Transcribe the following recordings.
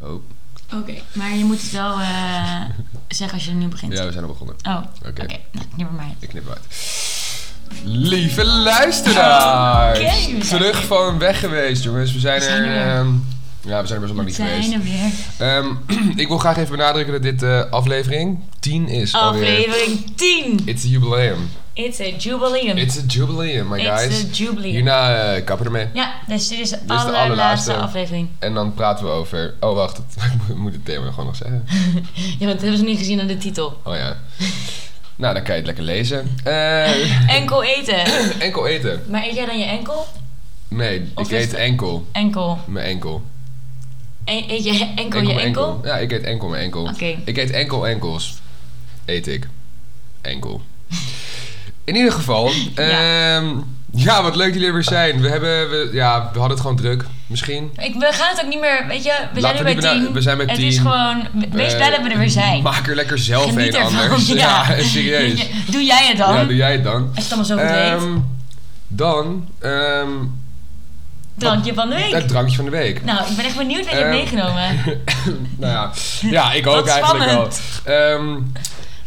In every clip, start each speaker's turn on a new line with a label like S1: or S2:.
S1: Oh,
S2: maar je moet het wel eh, zeggen als je nu begint.
S1: Ja, we zijn al begonnen.
S2: Oh, oké.
S1: Oké.
S2: Nou, never mind.
S1: Ik knip hem uit. Lieve luisteraars!
S2: Oké, we zijn
S1: Terug
S2: er.
S1: van weg geweest, jongens. We zijn,
S2: We zijn
S1: er.
S2: er weer.
S1: ehm, ja, we zijn er best wel lang
S2: We
S1: niet
S2: zijn
S1: geweest.
S2: er weer.
S1: Ehm, ik wil graag even benadrukken dat dit eh, aflevering 10 is. Alweer.
S2: Aflevering 10.
S1: It's a jubileum.
S2: It's a jubileum.
S1: It's a jubileum, my
S2: It's
S1: guys.
S2: a jubileum.
S1: Hierna eh, kappen ermee.
S2: Ja, dus dit is de
S1: de
S2: allerlaatste
S1: allerlaatste.
S2: aflevering.
S1: En dan praten we over. Oh, wacht. Ik moet het thema gewoon nog zeggen.
S2: Ja, want dat hebben ze niet gezien aan de titel.
S1: Oh ja. Nou, dan kan je het lekker lezen. Eh,
S2: Enkel eten.
S1: enkel eten.
S2: Maar eet jij dan je enkel?
S1: Nee,
S2: Of
S1: ik
S2: is
S1: eet
S2: het-
S1: enkel.
S2: Enkel.
S1: Mijn enkel.
S2: E- eet je enkel je
S1: mijn
S2: enkel?
S1: Ja, ik eet enkel mijn enkel.
S2: Oké.
S1: Ik eet enkel enkels. Eet ik. Enkel. In ieder geval.
S2: Ja.
S1: ehm, ja, wat leuk dat jullie er weer zijn. We, hebben, we, ja, we hadden het gewoon druk. Misschien.
S2: Ik, we gaan het ook niet meer, weet je,
S1: Laten
S2: we zijn
S1: we
S2: er bij
S1: niet bena-
S2: 10.
S1: we zijn Eh, bij
S2: Het is
S1: 10.
S2: gewoon, we- wees blij dat we er weer zijn.
S1: Maak er lekker zelf
S2: Geniet
S1: een
S2: ervan,
S1: anders.
S2: ja.
S1: serieus.
S2: Weet je, Doe jij het dan?
S1: Ja, doe jij het dan.
S2: Als je het allemaal zo goed weet.
S1: Ehm, dan, ehm,
S2: Drankje van de week.
S1: het drankje van de week.
S2: Nou, ik ben echt benieuwd wat je
S1: Ehm,
S2: hebt meegenomen.
S1: nou ja, ja ik ook
S2: Wat
S1: eigenlijk wel.
S2: spannend.
S1: Ehm,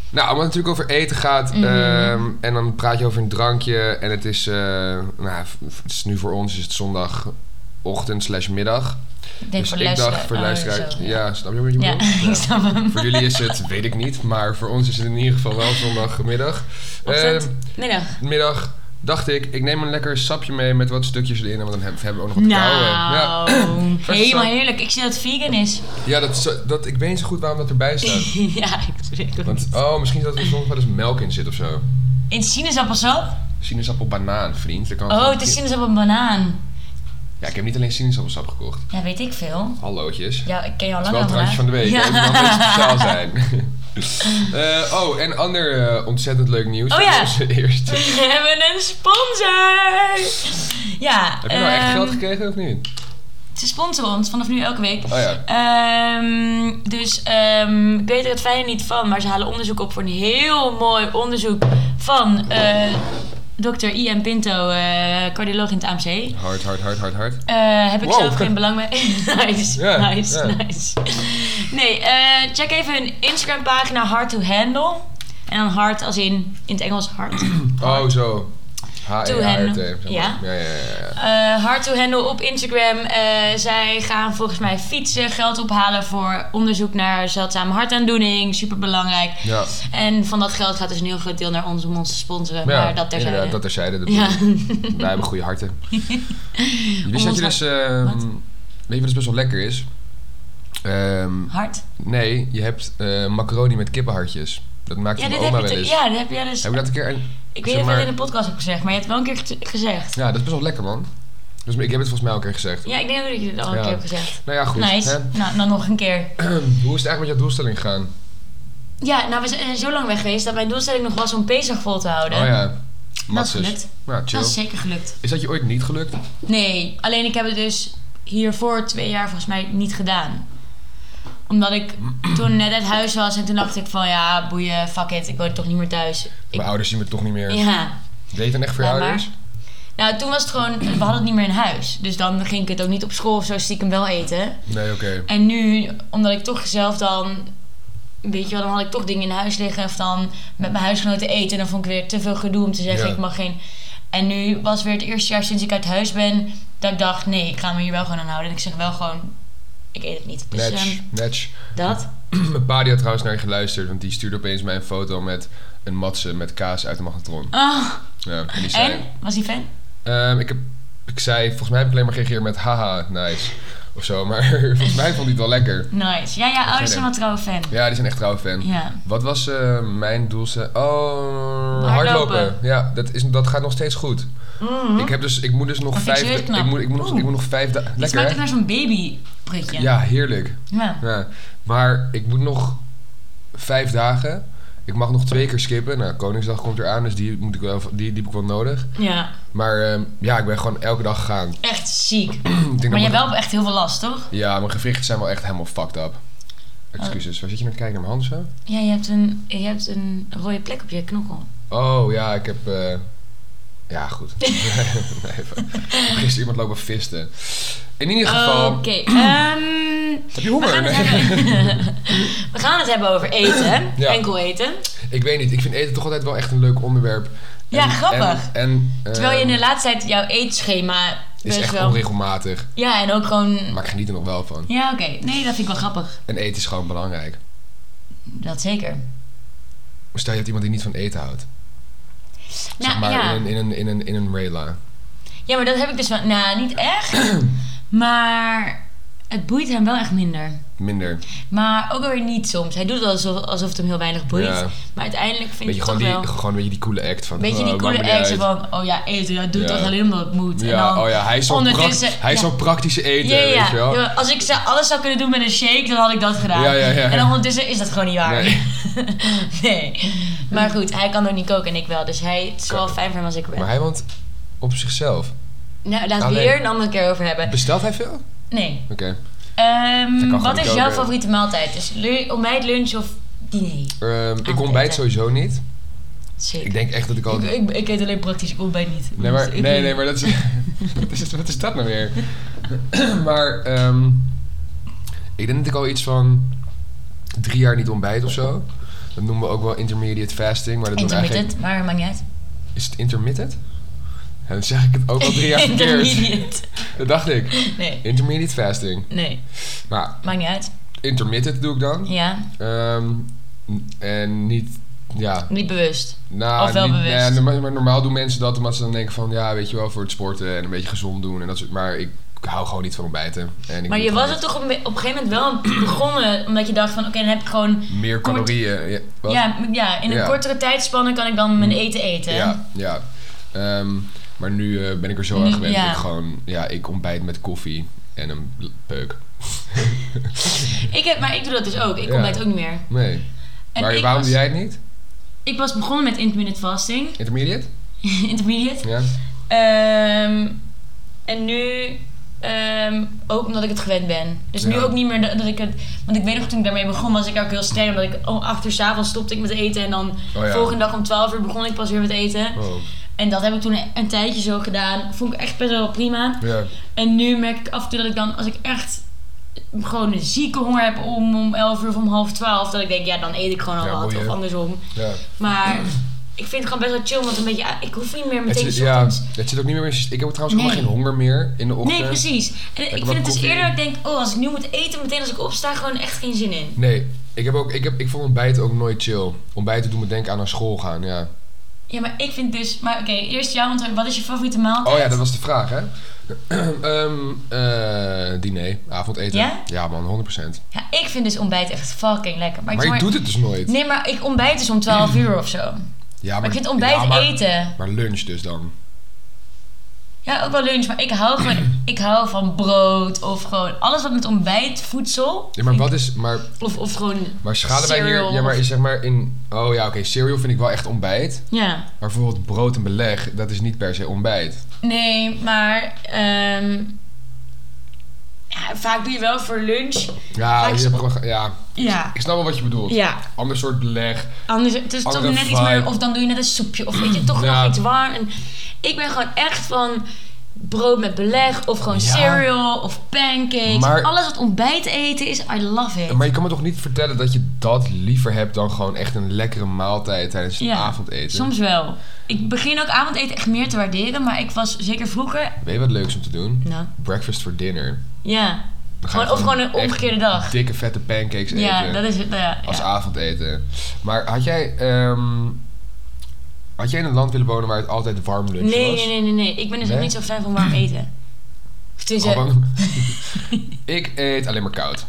S1: nou, omdat het natuurlijk over eten gaat
S2: Mhm.
S1: ehm, en dan praat je over een drankje en het is, eh, nou, v- v- het is nu voor ons is het zondagochtend slash middag.
S2: Ik
S1: dus ik dacht voor de luisteraar, ja. snap je wat je
S2: oh, Ja,
S1: bedoelt? Ja.
S2: ik snap hem.
S1: Voor jullie is het, weet ik niet, maar voor ons is het in ieder geval wel zondagmiddag.
S2: Ochtend, middag.
S1: Ehm, middag dacht ik, ik neem een lekker sapje mee met wat stukjes erin, want dan heb- hebben we ook nog wat te kauwen. Ja.
S2: Nou, helemaal
S1: zo.
S2: heerlijk. Ik zie dat het vegan is.
S1: Ja, dat, is zo- dat, ik weet niet zo goed waarom dat erbij staat.
S2: ja, ik weet het
S1: Want,
S2: niet.
S1: oh, misschien dat er soms wel eens melk in zit of zo.
S2: In sinaasappelsap?
S1: Sinaasappel, banaan, vriend. Dat kan
S2: Oh,
S1: gewoon-
S2: het is sinaasappel en banaan.
S1: Ja, ik heb niet alleen sinaasappelsap gekocht.
S2: Ja, weet ik veel.
S1: Hallootjes. Het
S2: Ja, ik ken jou
S1: is
S2: al
S1: wel
S2: lang
S1: het drankje van de week.
S2: Ja.
S1: Het moet wel een beetje speciaal zijn. Eh, oh, en ander eh, ontzettend leuk nieuws.
S2: Oh
S1: Dat
S2: ja.
S1: was het eerste.
S2: We hebben een sponsor! Ja,
S1: Heb je nou echt
S2: ehm,
S1: geld gekregen of niet?
S2: Ze sponsoren ons vanaf nu elke week.
S1: Oh ja.
S2: Ehm, dus ehm, ik weet er het fijne niet van, maar ze halen onderzoek op voor een heel mooi onderzoek van eh Dr. Ian Pinto, eh, cardioloog in het AMC.
S1: Hard, hard, hard, hard, hard.
S2: Eh, heb ik
S1: Wow.
S2: zelf geen belang mee. nice,
S1: Ja,
S2: nice,
S1: ja.
S2: nice. Nee, eh, check even hun Instagram pagina Hard to Handle. En dan hard als in, in het Engels hard.
S1: Oh, zo. h e a
S2: To
S1: r
S2: hen.
S1: t zeg maar.
S2: Ja.
S1: Ja, ja, ja. ja.
S2: Eh, hard to Handle op Instagram. Eh, zij gaan volgens mij fietsen, geld ophalen voor onderzoek naar zeldzame hartaandoening. Super belangrijk.
S1: Ja.
S2: En van dat geld gaat dus een heel groot deel naar ons om ons te sponsoren.
S1: Ja,
S2: maar dat terzijde.
S1: inderdaad, dat terzijde. Dat
S2: ja.
S1: Wij hebben goede harten. Je wist dat
S2: ons
S1: je dus... ehm,
S2: Wat?
S1: weet je wat dus best wel lekker is? Ehm,
S2: Hard.
S1: Nee, je hebt eh, macaroni met kippenhartjes. Dat maakt
S2: Ja, dit
S1: mijn
S2: heb
S1: oma
S2: je
S1: wel
S2: te-
S1: eens.
S2: ja, dat heb jij dus.
S1: Heb ik dat een keer... aan- zeg
S2: ik weet niet of je
S1: maar-
S2: dat in de podcast hebt gezegd, maar je hebt wel een keer gez- gezegd.
S1: Ja, dat is best wel lekker, man. Dus ik heb het volgens mij al een keer gezegd.
S2: Ja, ik denk ook dat je het al een
S1: Ja.
S2: keer hebt gezegd.
S1: Nou ja, goed.
S2: nice.
S1: hè?
S2: Nou, dan nog een keer.
S1: Hoe is het eigenlijk met jouw doelstelling gegaan?
S2: Ja, nou, we zijn zo lang weg geweest dat mijn doelstelling nog was om Pesach vol te houden.
S1: Oh ja,
S2: Dat is
S1: Matsus.
S2: gelukt.
S1: Nou, chill.
S2: Dat is zeker gelukt.
S1: Is dat je ooit niet gelukt?
S2: Nee, alleen ik heb het dus hiervoor twee jaar volgens mij niet gedaan. Omdat ik toen net uit huis was en toen dacht ik van ja, boeien, fuck it, ik woon toch niet meer thuis. Ik,
S1: Mijn ouders zien me toch niet meer.
S2: ja.
S1: Deed het dan echt voor
S2: Ja,
S1: je
S2: maar-
S1: ouders?
S2: Nou, toen was het gewoon, we hadden het niet meer in huis. Dus dan ging ik het ook niet op school of zo stiekem wel eten.
S1: Nee, oké.
S2: En nu, omdat ik toch zelf dan, weet je wel, dan had ik toch dingen in huis liggen of dan met mijn huisgenoten eten. En dan vond ik weer te veel gedoe om te zeggen,
S1: Ja.
S2: ik mag geen. En nu was weer het eerste jaar sinds ik uit huis ben, dat ik dacht, nee, ik ga me hier wel gewoon aan houden. En ik zeg wel gewoon, ik eet het niet. Dus
S1: Match,
S2: ehm,
S1: match.
S2: dat.
S1: Mijn pa die had trouwens naar je geluisterd, want die stuurde opeens mij een foto met een matse met kaas uit de magnetron.
S2: Ah,
S1: Ja, en die zei...
S2: en? Was hij fan?
S1: Ehm, ik, heb, ik zei, volgens mij heb ik alleen maar gereageerd met haha, nice. Of zo, maar volgens mij vond hij het wel lekker.
S2: Nice. Ja, ja, ouders zijn wel trouwe fan.
S1: Ja, die zijn echt trouw fan.
S2: Ja.
S1: Wat was eh, mijn doelstelling? Oh,
S2: Hardlopen.
S1: hardlopen. Ja, dat, is, dat gaat nog steeds goed.
S2: Mhm.
S1: Ik, heb dus, ik moet dus nog
S2: Dat vind ik
S1: vijf...
S2: serieus knap.
S1: Ik moet, ik moet, nog,
S2: Oeh.
S1: ik moet nog vijf dagen...
S2: Het
S1: Lekker,
S2: smaakt
S1: hè?
S2: ook naar zo'n babyprutje.
S1: Ja, heerlijk.
S2: ja.
S1: Ja. Maar ik moet nog vijf dagen. Ik mag nog twee keer skippen. Nou, Koningsdag komt eraan, dus die, moet ik wel, die, die heb ik wel nodig.
S2: Ja,
S1: Maar ehm, ja, ik ben gewoon elke dag gegaan.
S2: echt ziek.
S1: Ik denk dat
S2: Maar
S1: mijn-
S2: je hebt wel echt heel veel last, toch?
S1: Ja, mijn gewrichten zijn wel echt helemaal fucked up. Excuses, waar zit je naar te kijken naar mijn hand
S2: Ja, je hebt een, je hebt een rode plek op je knokkel.
S1: zo? Oh ja, ik heb. eh, Ja, goed. nee,
S2: Oh,
S1: even. Gisteren iemand lopen visten. In ieder geval.
S2: Oké, ehm, ehm,
S1: Heb je
S2: we,
S1: honger?
S2: gaan het hebben, we gaan het hebben over eten.
S1: Ja.
S2: Enkel eten.
S1: Ik weet niet, ik vind eten toch altijd wel echt een leuk onderwerp.
S2: Ja, grappig.
S1: En, en,
S2: Terwijl je in de
S1: ehm,
S2: laatste tijd jouw eetschema
S1: is
S2: best
S1: echt
S2: wel...
S1: onregelmatig,
S2: Ja, en ook gewoon...
S1: maar ik geniet er nog wel van.
S2: Ja, oké. Nee, dat vind ik wel grappig.
S1: En eten is gewoon belangrijk.
S2: Dat zeker.
S1: Stel je hebt iemand die niet van eten houdt.
S2: Nou,
S1: zeg maar eh,
S2: ja.
S1: in, een, in, een, in, een, in een rela.
S2: ja, maar dat heb ik dus wel... Nou, niet echt. maar het boeit hem wel echt minder.
S1: Minder.
S2: Maar ook alweer niet soms. Hij doet het alsof, alsof het hem heel weinig boeit.
S1: Ja.
S2: Maar uiteindelijk vind
S1: Beetje
S2: ik het
S1: gewoon,
S2: toch
S1: die,
S2: wel...
S1: gewoon een beetje die coole act van...
S2: Weet je die
S1: oh,
S2: coole
S1: maakt me niet
S2: ex
S1: uit.
S2: van, oh ja, eten, ja, doe
S1: Ja.
S2: toch alleen omdat het moet. en
S1: Ja,
S2: dan,
S1: oh ja, hij is zo'n
S2: ondertussen-
S1: pract- hij is
S2: ja.
S1: zo'n praktische eten,
S2: Ja, ja,
S1: weet je wel.
S2: ja. Als ik zou- alles zou kunnen doen met een shake, dan had ik dat gedaan.
S1: Ja, ja, ja.
S2: En ondertussen is dat gewoon niet waar.
S1: Nee.
S2: Nee. Maar goed, hij kan ook niet koken en ik wel. Dus hij, het is wel
S1: Kan-
S2: fijn voor hem als ik er ben.
S1: Maar hij woont op zichzelf.
S2: Nou, laten we
S1: Alleen.
S2: hier een andere keer over hebben.
S1: Bestelt hij veel? Oké.
S2: Nee. Ehm,
S1: Hij kan gewoon
S2: wat is
S1: koken.
S2: jouw favoriete maaltijd? Is lu- ontbijt, lunch of diner?
S1: Ehm, ik
S2: Ah,
S1: ontbijt
S2: eten.
S1: sowieso niet.
S2: Zeker.
S1: Ik denk echt dat ik al...
S2: ik, ik eet alleen praktisch, ik ontbijt niet.
S1: Nee, maar,
S2: Dus ik-
S1: nee, nee, maar dat is, wat, is, wat is dat nou weer? maar ehm, ik denk dat ik al iets van drie jaar niet ontbijt of zo. Dat noemen we ook wel intermediate fasting. Maar dat doen we eigenlijk,
S2: Intermittent, maar maakt niet uit.
S1: is het intermittent? Ja, dan zeg ik het ook al drie jaar verkeerd.
S2: Intermediate.
S1: Dat dacht ik.
S2: Nee,
S1: Intermediate fasting.
S2: nee,
S1: Maar
S2: maakt niet uit.
S1: intermittent doe ik dan.
S2: Ja,
S1: Ehm, en niet, ja,
S2: niet bewust.
S1: Nou,
S2: Of wel
S1: niet- nee,
S2: bewust?
S1: norma- maar normaal doen mensen dat omdat ze dan denken van... ja, weet je wel, voor het sporten en een beetje gezond doen en dat soort... maar ik hou gewoon niet van ontbijten. En ik
S2: Maar
S1: doe gewoon
S2: je was er
S1: niet.
S2: toch op een op een gegeven moment wel begonnen, omdat je dacht van, oké, dan heb ik gewoon...
S1: Meer
S2: kort-
S1: calorieën. Ja, wat?
S2: Ja, m- ja, in een
S1: Ja. Hm.
S2: kortere tijdspanne kan ik dan mijn eten eten.
S1: Ja, ja. Ehm, maar nu eh, ben ik er zo
S2: Nu-
S1: aan gewend
S2: ja.
S1: dat ik gewoon... ja, ik ontbijt met koffie en een l- peuk.
S2: Ik heb, maar ik doe dat dus ook. Ik
S1: Ja.
S2: ontbijt ook niet meer.
S1: Nee.
S2: En
S1: maar
S2: ik
S1: waarom
S2: was,
S1: doe jij het niet?
S2: Ik was begonnen met intermittent fasting.
S1: Intermediate?
S2: intermediate.
S1: Ja.
S2: Ehm, en nu ehm, ook omdat ik het gewend ben. Dus nu
S1: Ja.
S2: ook niet meer dat, dat ik het... Want ik weet nog toen ik daarmee begon was ik ook heel streng. Omdat ik om acht uur 's avonds stopte ik met eten. En dan
S1: Oh ja.
S2: volgende dag om 12 uur begon ik pas weer met eten.
S1: Oh,
S2: En dat heb ik toen een tijdje zo gedaan. Vond ik echt best wel prima.
S1: ja.
S2: En nu merk ik af en toe dat ik dan, als ik echt gewoon een zieke honger heb om, om 11 uur of om half 12, dat ik denk, ja, dan eet ik gewoon al
S1: Ja,
S2: wat.
S1: boeien.
S2: Of andersom.
S1: ja.
S2: Maar ik vind het gewoon best wel chill, want een beetje, ah, ik hoef niet meer
S1: Het,
S2: meteen
S1: zit, ja,
S2: ochtends.
S1: het zit ook niet meer... in- Ik heb trouwens helemaal
S2: Nee.
S1: geen honger meer in de ochtend.
S2: Nee, precies. En ik
S1: wat
S2: vind het dus
S1: koffie.
S2: eerder dat ik denk, oh, als ik nu moet eten, meteen als ik opsta, gewoon echt geen zin in.
S1: Nee, ik, heb ook, ik, heb, ik vond ontbijten ook nooit chill. Ontbijten doet me denken aan naar school gaan, ja.
S2: Ja, maar ik vind dus, maar oké, eerst jou, want wat is je favoriete maaltijd?
S1: Oh ja, dat was de vraag, hè? Ehm, eh, diner, avondeten.
S2: Ja?
S1: man, 100%.
S2: Ja, ik vind dus ontbijt echt fucking lekker. Maar, ik
S1: Maar
S2: doe
S1: je doet het dus nooit.
S2: Nee, maar ik ontbijt dus om 12 uur of zo.
S1: Ja,
S2: Maar ik vind ontbijt
S1: ja, maar-
S2: eten.
S1: Maar lunch dus dan.
S2: Ja, ook wel lunch, maar ik hou gewoon ik hou van brood of gewoon alles wat met ontbijt, voedsel.
S1: Ja, maar wat is... Maar,
S2: Of, of gewoon.
S1: maar schalenwijn hier...
S2: Cereal.
S1: Ja, maar is zeg maar in... Oh ja, oké, cereal vind ik wel echt ontbijt.
S2: Ja.
S1: Maar bijvoorbeeld brood en beleg, dat is niet per se ontbijt.
S2: Nee, maar. ehm, ja, vaak doe je wel voor lunch.
S1: Ja,
S2: Vaak
S1: je
S2: is-
S1: hebt gewoon- ja,
S2: Ja.
S1: ik snap wel wat je bedoelt.
S2: Ja.
S1: Ander soort beleg.
S2: Anders, het is toch
S1: Andere
S2: net iets meer.
S1: vibe.
S2: Of dan doe je net een soepje. Of weet je, toch
S1: Ja.
S2: nog iets warm. En ik ben gewoon echt van brood met beleg. Of gewoon
S1: Ja.
S2: cereal. Of pancakes.
S1: Maar-
S2: alles wat ontbijt eten is, I love it.
S1: Maar je kan me toch niet vertellen dat je dat liever hebt dan gewoon echt een lekkere maaltijd tijdens het
S2: Ja,
S1: avondeten?
S2: Soms wel. Ik begin ook avondeten echt meer te waarderen, maar ik was zeker vroeger.
S1: Weet je wat leuks om te doen?
S2: Nou,
S1: Breakfast for dinner.
S2: ja.
S1: Dan ga je
S2: Gewoon, of gewoon een
S1: echt
S2: omgekeerde dag.
S1: Dikke vette pancakes eten
S2: Ja, dat is het. nou ja,
S1: als
S2: ja.
S1: avondeten. Maar had jij, ehm, had jij in een land willen wonen waar het altijd warm lunch
S2: Nee,
S1: was?
S2: nee, nee, nee, nee. Ik ben dus
S1: Nee?
S2: ook niet zo fan van warm eten. Of tenminste,
S1: Gewoon- ik eet alleen maar koud.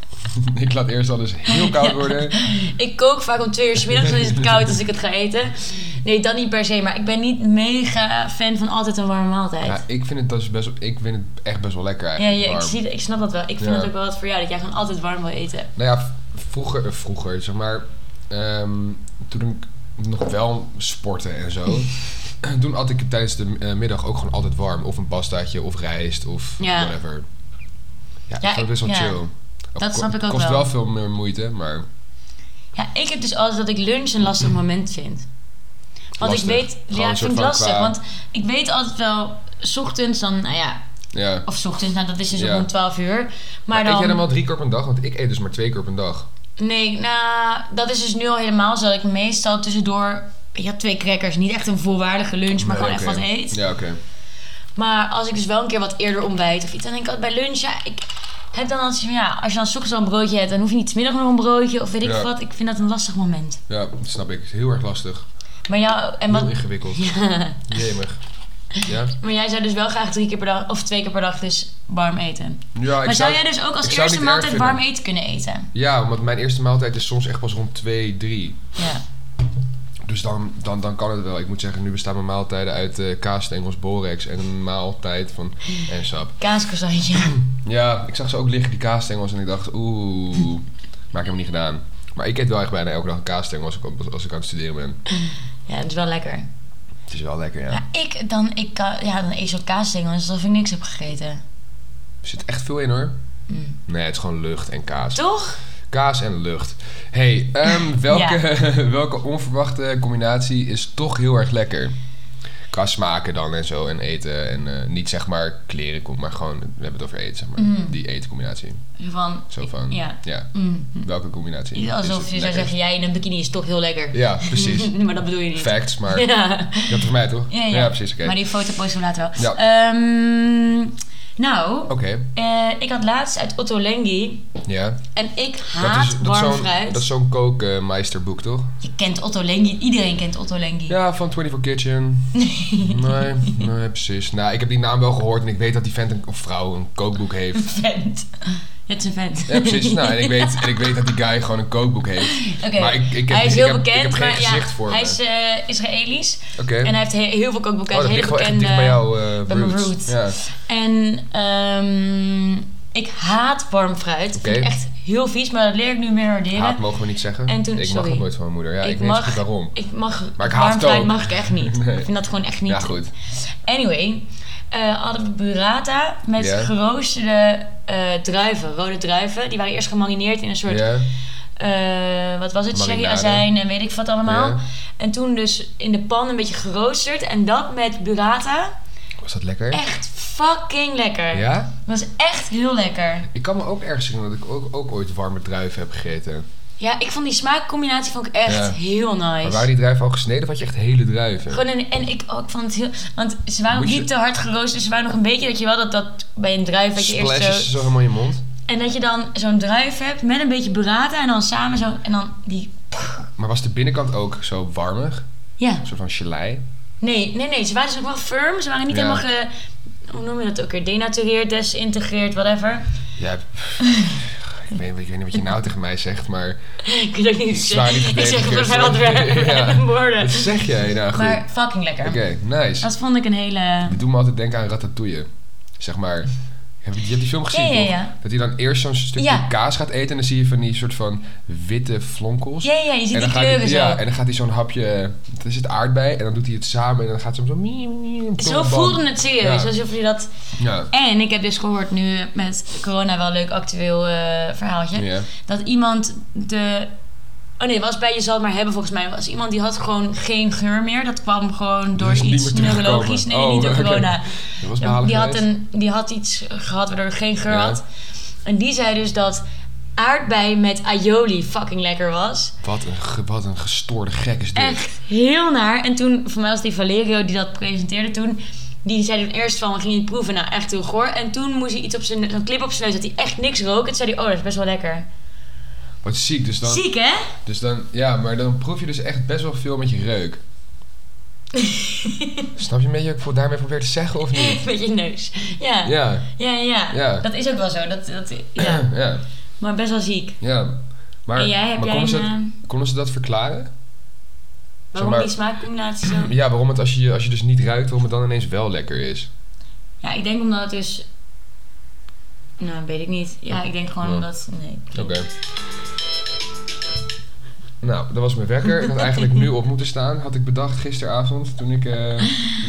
S1: ik laat eerst alles heel koud worden.
S2: ik kook vaak om twee uur 's middags, dan is het koud als ik het ga eten. Nee, dat niet per se, maar ik ben niet mega fan van altijd een warme maaltijd.
S1: Ja, ik vind het dus best, ik vind het echt best wel lekker
S2: ja,
S1: eigenlijk.
S2: ja, ik,
S1: warm.
S2: zie, ik snap dat wel. Ik vind
S1: Ja.
S2: dat ook wel wat voor jou, dat jij gewoon altijd warm wil eten.
S1: Nou ja, v- vroeger, eh, vroeger zeg maar, ehm, toen ik nog wel sportte en zo. toen at ik tijdens de eh, middag ook gewoon altijd warm. Of een pastaatje, of rijst, of
S2: Ja.
S1: whatever. Ja, ik
S2: Ja,
S1: vond het best wel
S2: ik- ja.
S1: chill.
S2: Dat snap ik ook
S1: kost
S2: wel.
S1: wel veel meer moeite, maar...
S2: Ja, ik heb dus altijd dat ik lunch een lastig moment vind. Want
S1: Lastig.
S2: ik weet,
S1: Gewoon
S2: ja,
S1: een
S2: ik
S1: soort
S2: vind het
S1: van
S2: lastig.
S1: qua-
S2: Want ik weet altijd wel, 's ochtends dan, nou ja,
S1: Ja.
S2: Of 's ochtends, nou dat is dus
S1: Ja.
S2: rond 12 uur. Maar,
S1: Maar eet
S2: dan.
S1: jij dan wel drie keer op een dag? Want ik eet dus maar twee keer op een dag.
S2: Nee, nou, dat is dus nu al helemaal zo. Dat ik meestal tussendoor. Je had twee crackers, niet echt een volwaardige lunch, maar
S1: Nee,
S2: gewoon
S1: oké.
S2: echt wat eet.
S1: Ja, oké.
S2: Maar als ik dus wel een keer wat eerder ontbijt of iets, dan denk ik altijd bij lunch, ja, ik heb dan altijd zoiets van, ja, als je dan 's ochtends al een broodje hebt, dan hoef je niet 's middags nog een broodje of weet ik
S1: Ja.
S2: wat. Ik vind dat een lastig moment.
S1: Ja, dat snap ik. Is heel erg lastig.
S2: Maar jou, en wat,
S1: Heel ingewikkeld. Jemig. Ja?
S2: maar jij zou dus wel graag drie keer per dag of twee keer per dag dus warm eten.
S1: Ja, ik
S2: maar
S1: zou...
S2: zou jij dus ook als
S1: ik zou het niet
S2: eerste
S1: erg
S2: maaltijd
S1: vinden.
S2: warm eten kunnen eten?
S1: Ja, want mijn eerste maaltijd is soms echt pas rond 2, 3.
S2: Ja.
S1: Dus dan, dan, dan kan het wel. Ik moet zeggen, nu bestaan mijn maaltijden uit eh kaasstengels, borex en een maaltijd van... en sap.
S2: Kaaskozijntje.
S1: Ja, ik zag ze ook liggen, die kaasstengels. En ik dacht, oeh, maar ik heb het niet gedaan. Maar ik eet wel echt bijna elke dag een kaasstengel als ik, als ik aan het studeren ben.
S2: Ja, dat is wel lekker.
S1: Het is wel lekker, ja.
S2: Ja, ik dan, ik, kan- ja, dan eet je zo'n kaasstengel, dus alsof ik niks heb gegeten.
S1: Er zit echt veel in hoor.
S2: Mm.
S1: Nee, het is gewoon lucht en kaas.
S2: Toch?
S1: Kaas en lucht. hey, ehm, welke, welke onverwachte combinatie is toch heel erg lekker? Qua smaken dan en zo en eten. En eh, niet zeg maar kleren komt, maar gewoon, we hebben het over eten, zeg maar.
S2: Mm.
S1: Die etencombinatie.
S2: Van,
S1: Zo van,
S2: ja.
S1: ja.
S2: Mm.
S1: Welke combinatie? is
S2: Alsof
S1: het
S2: je zou
S1: lekkerst?
S2: zeggen, jij in een bikini is toch heel lekker.
S1: Ja, precies.
S2: maar dat bedoel je niet.
S1: Facts, maar
S2: Ja.
S1: dat voor mij toch?
S2: Ja, ja.
S1: precies. Oké.
S2: Maar die foto posten we later wel.
S1: Ja. Oh.
S2: Ehm, nou,
S1: Oké,
S2: eh, ik had laatst uit Otto Lengi.
S1: ja.
S2: En ik
S1: Dat
S2: haat
S1: is, dat is
S2: warm
S1: zo'n,
S2: fruit.
S1: dat is zo'n kookmeisterboek, toch?
S2: Je kent Otto Lengi. Iedereen kent Otto Lengi.
S1: Ja, van 24 Kitchen. nee, nee, precies. Nou, ik heb die naam wel gehoord en ik weet dat die vent een, of vrouw een kookboek heeft.
S2: Vent. Het is een vent.
S1: Ja, precies. Nou, en ik weet, en ik weet dat die guy gewoon een kookboek heeft.
S2: Oké.
S1: Maar ik, ik heb, dus
S2: hij is
S1: ik
S2: heel
S1: heb- ik
S2: bekend,
S1: heb geen
S2: maar ja,
S1: gezicht voor
S2: hij
S1: me.
S2: is eh, Israëlisch.
S1: Oké.
S2: En hij heeft he- heel veel kookboeken.
S1: Oh,
S2: Hij
S1: dat
S2: is
S1: ligt wel echt
S2: hele bekende.
S1: dicht bij jou, eh
S2: bij mijn
S1: roots.
S2: roots.
S1: Ja.
S2: En ehm, ik haat warm fruit.
S1: Oké.
S2: Vind ik echt heel vies, maar dat leer ik nu meer waarderen.
S1: Haat mogen we niet zeggen.
S2: En toen-
S1: ik mag
S2: sorry.
S1: dat nooit van mijn moeder. Ja,
S2: Ik
S1: ik, weet niet
S2: mag-
S1: goed waarom.
S2: Ik mag
S1: Maar ik haat
S2: warm
S1: het
S2: fruit
S1: ook.
S2: mag ik echt niet.
S1: Nee.
S2: Ik vind dat gewoon echt niet.
S1: Ja, goed.
S2: Anyway, eh, hadden we burrata met
S1: Ja.
S2: geroosterde eh, druiven, rode druiven. Die waren eerst gemarineerd in een soort,
S1: Ja.
S2: eh, wat was het,
S1: Marinade.
S2: sherryazijn en weet ik wat allemaal.
S1: Ja.
S2: En toen dus in de pan een beetje geroosterd en dat met burrata.
S1: Was dat lekker?
S2: Echt fucking lekker.
S1: Ja?
S2: Dat was echt heel lekker.
S1: Ik kan me ook ergens herinneren dat ik ook, ook ooit warme druiven heb gegeten.
S2: Ja, ik vond die smaakcombinatie vond ik echt
S1: Ja.
S2: heel nice.
S1: Maar waren die druiven al gesneden of had je echt hele druiven?
S2: Gewoon een- en ik, oh, ik vond het heel... Want ze waren ook
S1: Moet je-
S2: niet te hard geroosterd. Dus ze waren nog een beetje, dat je wel, dat, dat bij een druif... Dat je eerst zo,
S1: Splashes zo helemaal in je mond.
S2: En dat je dan zo'n druif hebt met een beetje burrata en dan samen zo... En dan die...
S1: Maar was de binnenkant ook zo warmig?
S2: Ja.
S1: Een soort van gelei?
S2: Nee, nee, nee. Ze waren dus ook wel firm. Ze waren niet
S1: Ja.
S2: helemaal ge... Hoe noem je dat ook weer? Denatureerd, desintegreerd, whatever.
S1: Ja, pff, ik, weet, ik weet niet wat je nou tegen mij zegt, maar
S2: Ik weet ook niet.
S1: Zwaar niet
S2: ik zeg het voor
S1: gedegradeerd,
S2: veel
S1: hoor. Ja.
S2: woorden.
S1: wat zeg jij nou goed?
S2: Maar fucking lekker.
S1: Oké, nice.
S2: Dat vond ik een hele...
S1: Dat doet me altijd denken aan Ratatouille. Zeg maar, heb je, je hebt die film gezien
S2: Ja, ja,
S1: toch?
S2: ja.
S1: Dat hij dan eerst zo'n stukje
S2: Ja.
S1: kaas gaat eten en dan zie je van die soort van witte flonkels.
S2: Ja, ja, je
S1: En
S2: ziet die
S1: dan, gaat hij,
S2: kleuren zo.
S1: ja, en dan gaat hij zo'n hapje, het is het aardbei, en dan doet hij het samen en dan gaat ze hem zo... mie, mie, mie,
S2: Zo voelde het serieus.
S1: Ja.
S2: Alsof je dat...
S1: Ja,
S2: En ik heb dus gehoord nu met corona wel een leuk actueel eh, verhaaltje.
S1: ja.
S2: dat iemand de. Oh nee, was bij je zal het maar hebben volgens mij. Was iemand die had gewoon geen geur meer. Dat kwam gewoon door
S1: is niet
S2: iets
S1: meer teruggekomen.
S2: neurologisch. Nee,
S1: Oh,
S2: niet door
S1: oké.
S2: corona.
S1: Dat was behalen
S2: die, had
S1: geweest.
S2: een, die had iets gehad waardoor hij geen geur
S1: Ja.
S2: had. En die zei dus dat aardbei met aioli fucking lekker was.
S1: Wat een, ge- wat een gestoorde gek is dit.
S2: Echt heel naar. En toen, voor mij was die Valerio die dat presenteerde toen. Die zei toen eerst van, we gingen het proeven. Nou, echt heel goor. En toen moest hij iets op zijn, zo'n clip op zijn neus dat hij echt niks rook. En toen zei hij, oh, dat is best wel lekker.
S1: Wat ziek, dus dan,
S2: Ziek, hè?
S1: dus dan... Ja, maar dan proef je dus echt best wel veel met je reuk. Snap je een beetje wat ik voor- daarmee probeer te zeggen of niet?
S2: Met je neus. Ja. Ja,
S1: Hmm. Ja,
S2: ja, ja.
S1: Ja.
S2: Dat is ook wel zo. Dat, dat, ja.
S1: ja,
S2: Maar best wel ziek.
S1: ja. Maar,
S2: en jij, heb
S1: maar
S2: jij
S1: konden,
S2: een...
S1: ze
S2: eh,
S1: dat, konden ze dat verklaren?
S2: waarom
S1: maar-
S2: die smaakcombinatie zo...
S1: Ja, waarom het als je, als je dus niet ruikt, waarom het dan ineens wel lekker is?
S2: Ja, ik denk omdat het dus... Nou, weet ik niet. Ja, ik denk gewoon
S1: Ja.
S2: omdat... Nee.
S1: Oké. Nou, dat was mijn wekker. Ik had eigenlijk nu op moeten staan, had ik bedacht gisteravond toen ik eh,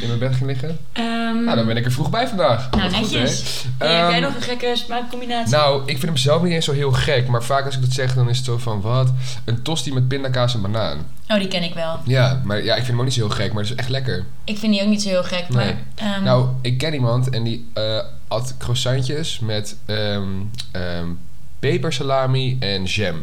S1: in mijn bed ging liggen.
S2: Ehm,
S1: Nou, dan ben ik er vroeg bij vandaag.
S2: Nou,
S1: Wat goed, hè?
S2: netjes. Hey, heb jij
S1: Ehm,
S2: nog een gekke smaakcombinatie?
S1: Nou, ik vind hem zelf niet eens zo heel gek, maar vaak als ik dat zeg, dan is het zo van wat? Een tosti met pindakaas en banaan.
S2: Oh, die ken ik wel.
S1: Ja, maar ja, ik vind hem ook niet zo
S2: Mm.
S1: heel gek, maar het is echt lekker. Nou,
S2: Ik vind die ook niet zo heel gek,
S1: Nee.
S2: maar... ehm,
S1: Nou, ik ken iemand en die eh, at croissantjes met ehm ehm, pepersalami en jam.